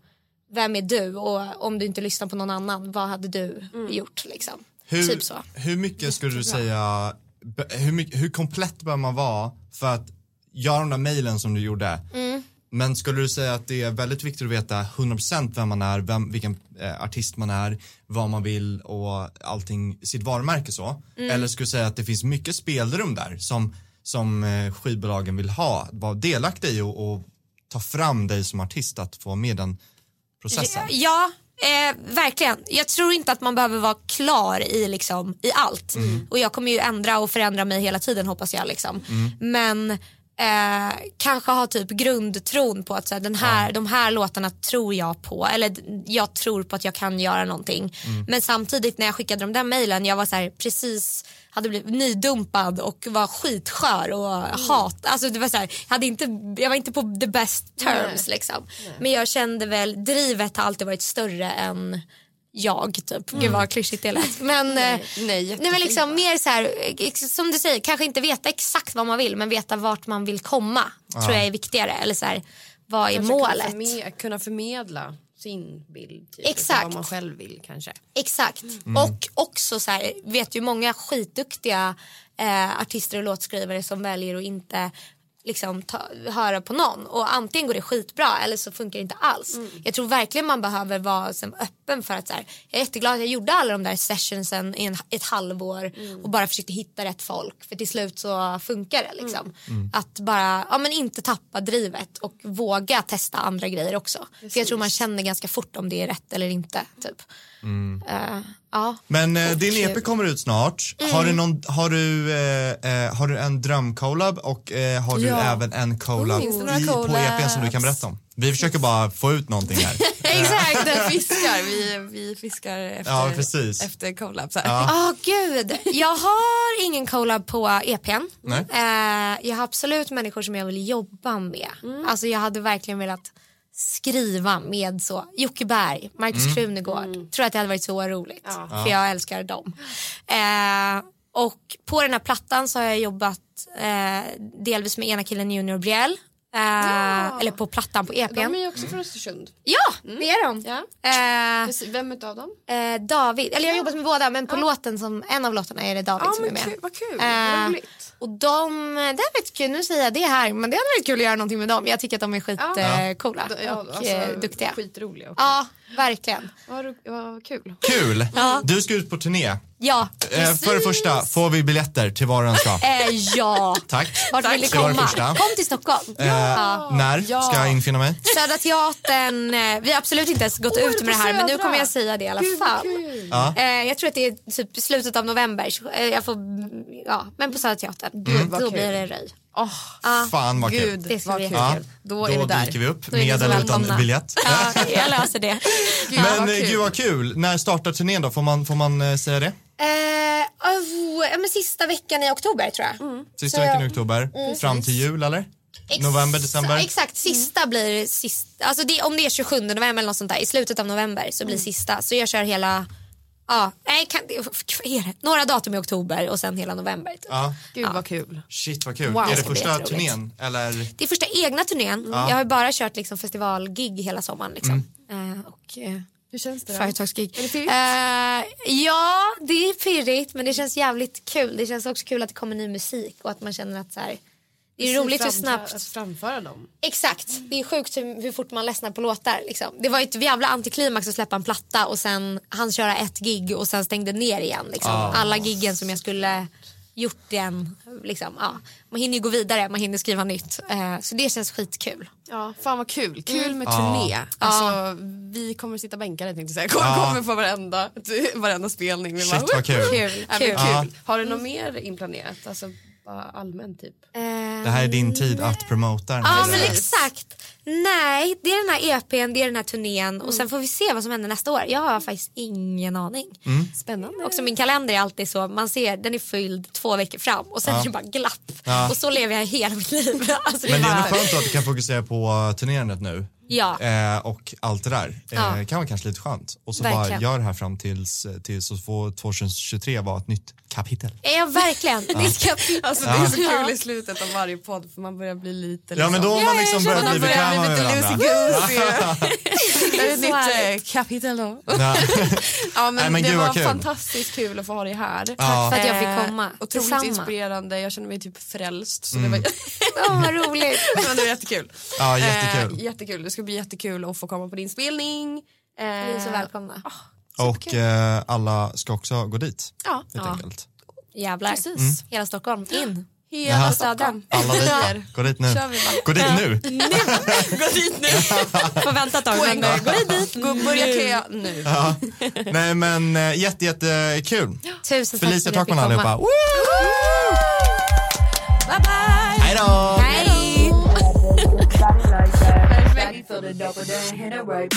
A: vem är du och om du inte lyssnar på någon annan, vad hade du gjort liksom?
C: Hur,
A: Typ så.
C: hur mycket skulle du säga, be- hur, mycket, hur komplett bör man vara för att göra de där mejlen som du gjorde?
A: Mm.
C: Men skulle du säga att det är väldigt viktigt att veta 100% vem man är, vem, vilken eh, artist man är, vad man vill och allting, sitt varumärke så?
A: Mm.
C: Eller skulle du säga att det finns mycket spelrum där som, som eh, skivbolagen vill ha, vara delaktig i och, och ta fram dig som artist att få med den processen?
A: Ja, eh, verkligen. Jag tror inte att man behöver vara klar i, liksom, i allt. Och jag kommer ju ändra och förändra mig hela tiden hoppas jag. Liksom. Men eh, kanske ha typ grundtron på att så här, den här, de här låtarna tror jag på. Eller d- jag tror på att jag kan göra någonting. Men samtidigt när jag skickade de där mejlen, jag var så här, precis hade blivit nydumpad och var skitskör och hat. Alltså det var så här, jag, hade inte, jag var inte på the best terms liksom. Men jag kände väl, drivet har alltid varit större än jag typ. Gud vad klyschigt det lät. Men, eh, nej,
D: nej,
A: nej men liksom mer så här, ex- som du säger, kanske inte veta exakt vad man vill men veta vart man vill komma tror jag är viktigare. Eller så här, vad är målet?
D: Kunna, förme- kunna förmedla sin bild. Typ,
A: Exakt.
D: Vad man själv vill kanske.
A: Exakt. Och också så här, vet ju många skitduktiga eh, artister och låtskrivare som väljer att inte liksom ta, höra på någon och antingen går det skitbra eller så funkar det inte alls. Jag tror verkligen man behöver vara som, öppen för att så här, jag är jätteglad att jag gjorde alla de där sessionsen i en, ett halvår och bara försökte hitta rätt folk för till slut så funkar det liksom. Att bara, ja men inte tappa drivet och våga testa andra grejer också. För jag tror man känner ganska fort om det är rätt eller inte typ. Eh, ja.
C: Men eh,
A: Och,
C: din EP
A: eh,
C: kommer ut snart. Har, du någon, har, du, eh, eh, har du en drömcollab och eh, har du
D: Ja.
C: även en collab
G: Finns det några
C: i, på
G: collabs?
C: EPn som du kan berätta om? Vi försöker bara få ut någonting här.
G: Exakt, den fiskar. Vi, vi fiskar efter,
C: Ja, precis.
G: efter collabs. här.
C: Ja.
A: Åh gud, jag har ingen collab på EPn.
C: Nej.
A: Eh, jag har absolut människor som jag vill jobba med.
G: Mm.
A: Alltså jag hade verkligen velat skriva med så Jocke Berg, Markus
C: Mm.
A: Krunegård.
G: Mm.
A: Tror att det hade varit så roligt. För jag älskar dem. Eh, och på den här plattan så har jag jobbat eh, delvis med ena killen Junior Brielle. Eh, Eller på plattan på EPn.
D: De är ju också från Östersund.
A: Mm. Ja,
G: mm.
A: det är de.
D: Ja.
A: Eh,
D: Precis. Vem utav dem?
A: Eh, David, eller jag har jobbat med båda men på låten som, en av låtarna är det David
D: Liksom,
A: som är med.
D: vad kul.
A: Eh, och de, det hade varit kul, nu säger jag det här men det hade varit kul att göra någonting med dem. Jag tycker att de är
D: Ja. Alltså,
A: skitcoola eh, coola och eh, duktiga.
D: Skitroliga också.
A: Ja, verkligen.
D: Vad, ro- vad kul.
C: Kul! Du ska ut på turné.
A: Ja,
C: Eh, för det första, får vi biljetter till var och en ska?
A: eh, ja.
C: Tack.
A: Vart vill du
C: Det var det
A: komma?
C: första.
A: Kom till Stockholm.
C: Eh, När ska jag infinna mig?
A: Södra Teatern, eh, vi har absolut inte ens gått ut med det här men nu kommer jag säga det i alla fall.
C: Ja.
A: Eh, jag tror att det är typ slutet av november, så, eh, jag får, mm, ja, men på Södra
C: Mm.
A: Teatern.
D: vad
A: Då
D: kul.
A: blir det röj.
C: Fan vad kul.
D: Gud,
A: Det ska
D: vad
A: bli
D: kul.
C: Ja.
D: Då är det där.
C: dyker vi upp,
A: är ni
C: med
A: så
C: eller utan
A: välkomna.
C: biljett.
A: Ja, jag löser det.
C: Men
D: vad
C: eh,
D: kul.
C: gud vad kul. När startar turnén då? Får man, får man eh, säga det?
A: Eh, oh, ja, men sista veckan i oktober tror jag.
C: Sista
A: Så jag-
C: veckan i oktober, fram till jul eller? November, december?
A: Exakt, sista blir sista. Alltså det, om det är 27 november eller något sånt där, i slutet av november så blir sista. Så jag kör hela, ja, nej, kan, det- vad är det? några datum i oktober och sen hela november. Typ.
C: Ja.
D: Gud vad kul.
C: Shit vad kul.
A: Wow.
C: är
A: Det
C: det
A: ska bli
C: första
A: jätteroligt.
C: turnén eller?
A: Det är första egna turnén. Jag har ju bara kört liksom, festivalgig hela sommaren. Liksom.
C: Mm.
A: Eh, och, eh,
D: Hur känns det? då?
A: Företagsgig. Är det pirrigt? ja, det är pirrigt men det känns jävligt kul. Det känns också kul att det kommer ny musik och att man känner att så här, det är roligt hur
D: Framför-
A: snabbt
D: Att framföra dem.
A: Exakt, det är sjukt hur, hur fort man ledsnar på låtar. Liksom. Det var ju ett jävla antiklimax att släppa en platta och sen han köra ett gig och sen stängde ner igen. Liksom. Alla giggen som jag skulle gjort igen. Liksom, ja. Man hinner ju gå vidare, man hinner skriva nytt. Eh, så det känns skitkul.
D: Ja, fan vad kul. Kul med turné. Alltså, vi kommer sitta bänkade tänkte jag säga. Kommer, kommer på varenda, varenda spelning. Vi
C: Shit vad kul.
A: Kul. Eh,
D: Ja, men
A: kul.
D: kul. Har du något mer inplanerat? Alltså, bara allmänt typ?
C: Det här är din tid att promota den
A: Ja
C: här.
A: men exakt. Nej, det är den här EPn, det är den här turnén och
C: Mm.
A: sen får vi se vad som händer nästa år. Jag har faktiskt ingen aning.
C: Mm.
D: Spännande.
A: Också min kalender är alltid så, man ser den är fylld två veckor fram och sen är det bara glapp.
C: Ja.
A: Och så lever jag hela mitt liv. Alltså, det är
C: Men det är
A: bara,
C: nog skönt att du kan fokusera på turnerandet nu.
A: Ja.
C: Eh, och allt det där. Eh,
A: Ja.
C: kan vara kanske lite skönt. Och så bara
A: Verkligen.
C: gör det här fram tills, eh, tills så får 2023 vara ett nytt kapitel.
A: är jag verkligen? Det ska jag
D: Alltså, det är så kul i slutet av varje podd för man börjar bli lite...
C: Ja
D: Liksom,
C: men då har man liksom börjat bli
D: man börjar
C: bekväm med
D: bli lite
C: varandra.
D: loosey-goosey. Det är ett
A: Så härligt.
D: nytt eh, kapitel då.
C: Nej.
D: Ja, men
C: Nej, men
D: det
C: gud, vad
D: var
C: kul.
D: fantastiskt kul att få ha dig här. Tack
C: Ja.
A: för att jag fick komma.
D: Otroligt
A: Detsamma.
D: inspirerande. Jag känner mig typ frälst. Så det, var,
A: Åh, vad roligt.
D: men det var jättekul.
C: Mm. Ja, jättekul.
D: Eh, jättekul. Det ska bli jättekul att få komma på din spelning. Eh,
A: Ni är så välkomna.
C: Och eh, alla ska också gå dit.
D: Ja,
C: Helt enkelt.
A: Jävlar.
D: precis.
C: Mm.
A: Hela Stockholm, in.
D: Hela
C: Jaha.
D: Stockholm.
C: Alla dit. Gå dit nu.
D: Kör vi bara.
C: Gå dit nu.
D: Gå dit nu.
A: Får vänta ett tag.
D: Gå
A: men-
D: in nu. Gå dit. Gå, börja köa nu.
C: Nej men eh, jätte, jätte kul.
A: Tusen tack
C: Felicia
A: för att jag fick
C: Takman allihopa.
A: komma.
C: Woo!
D: Bye bye.
C: Hej då!
A: Hej!
H: Back for the double, then hit it right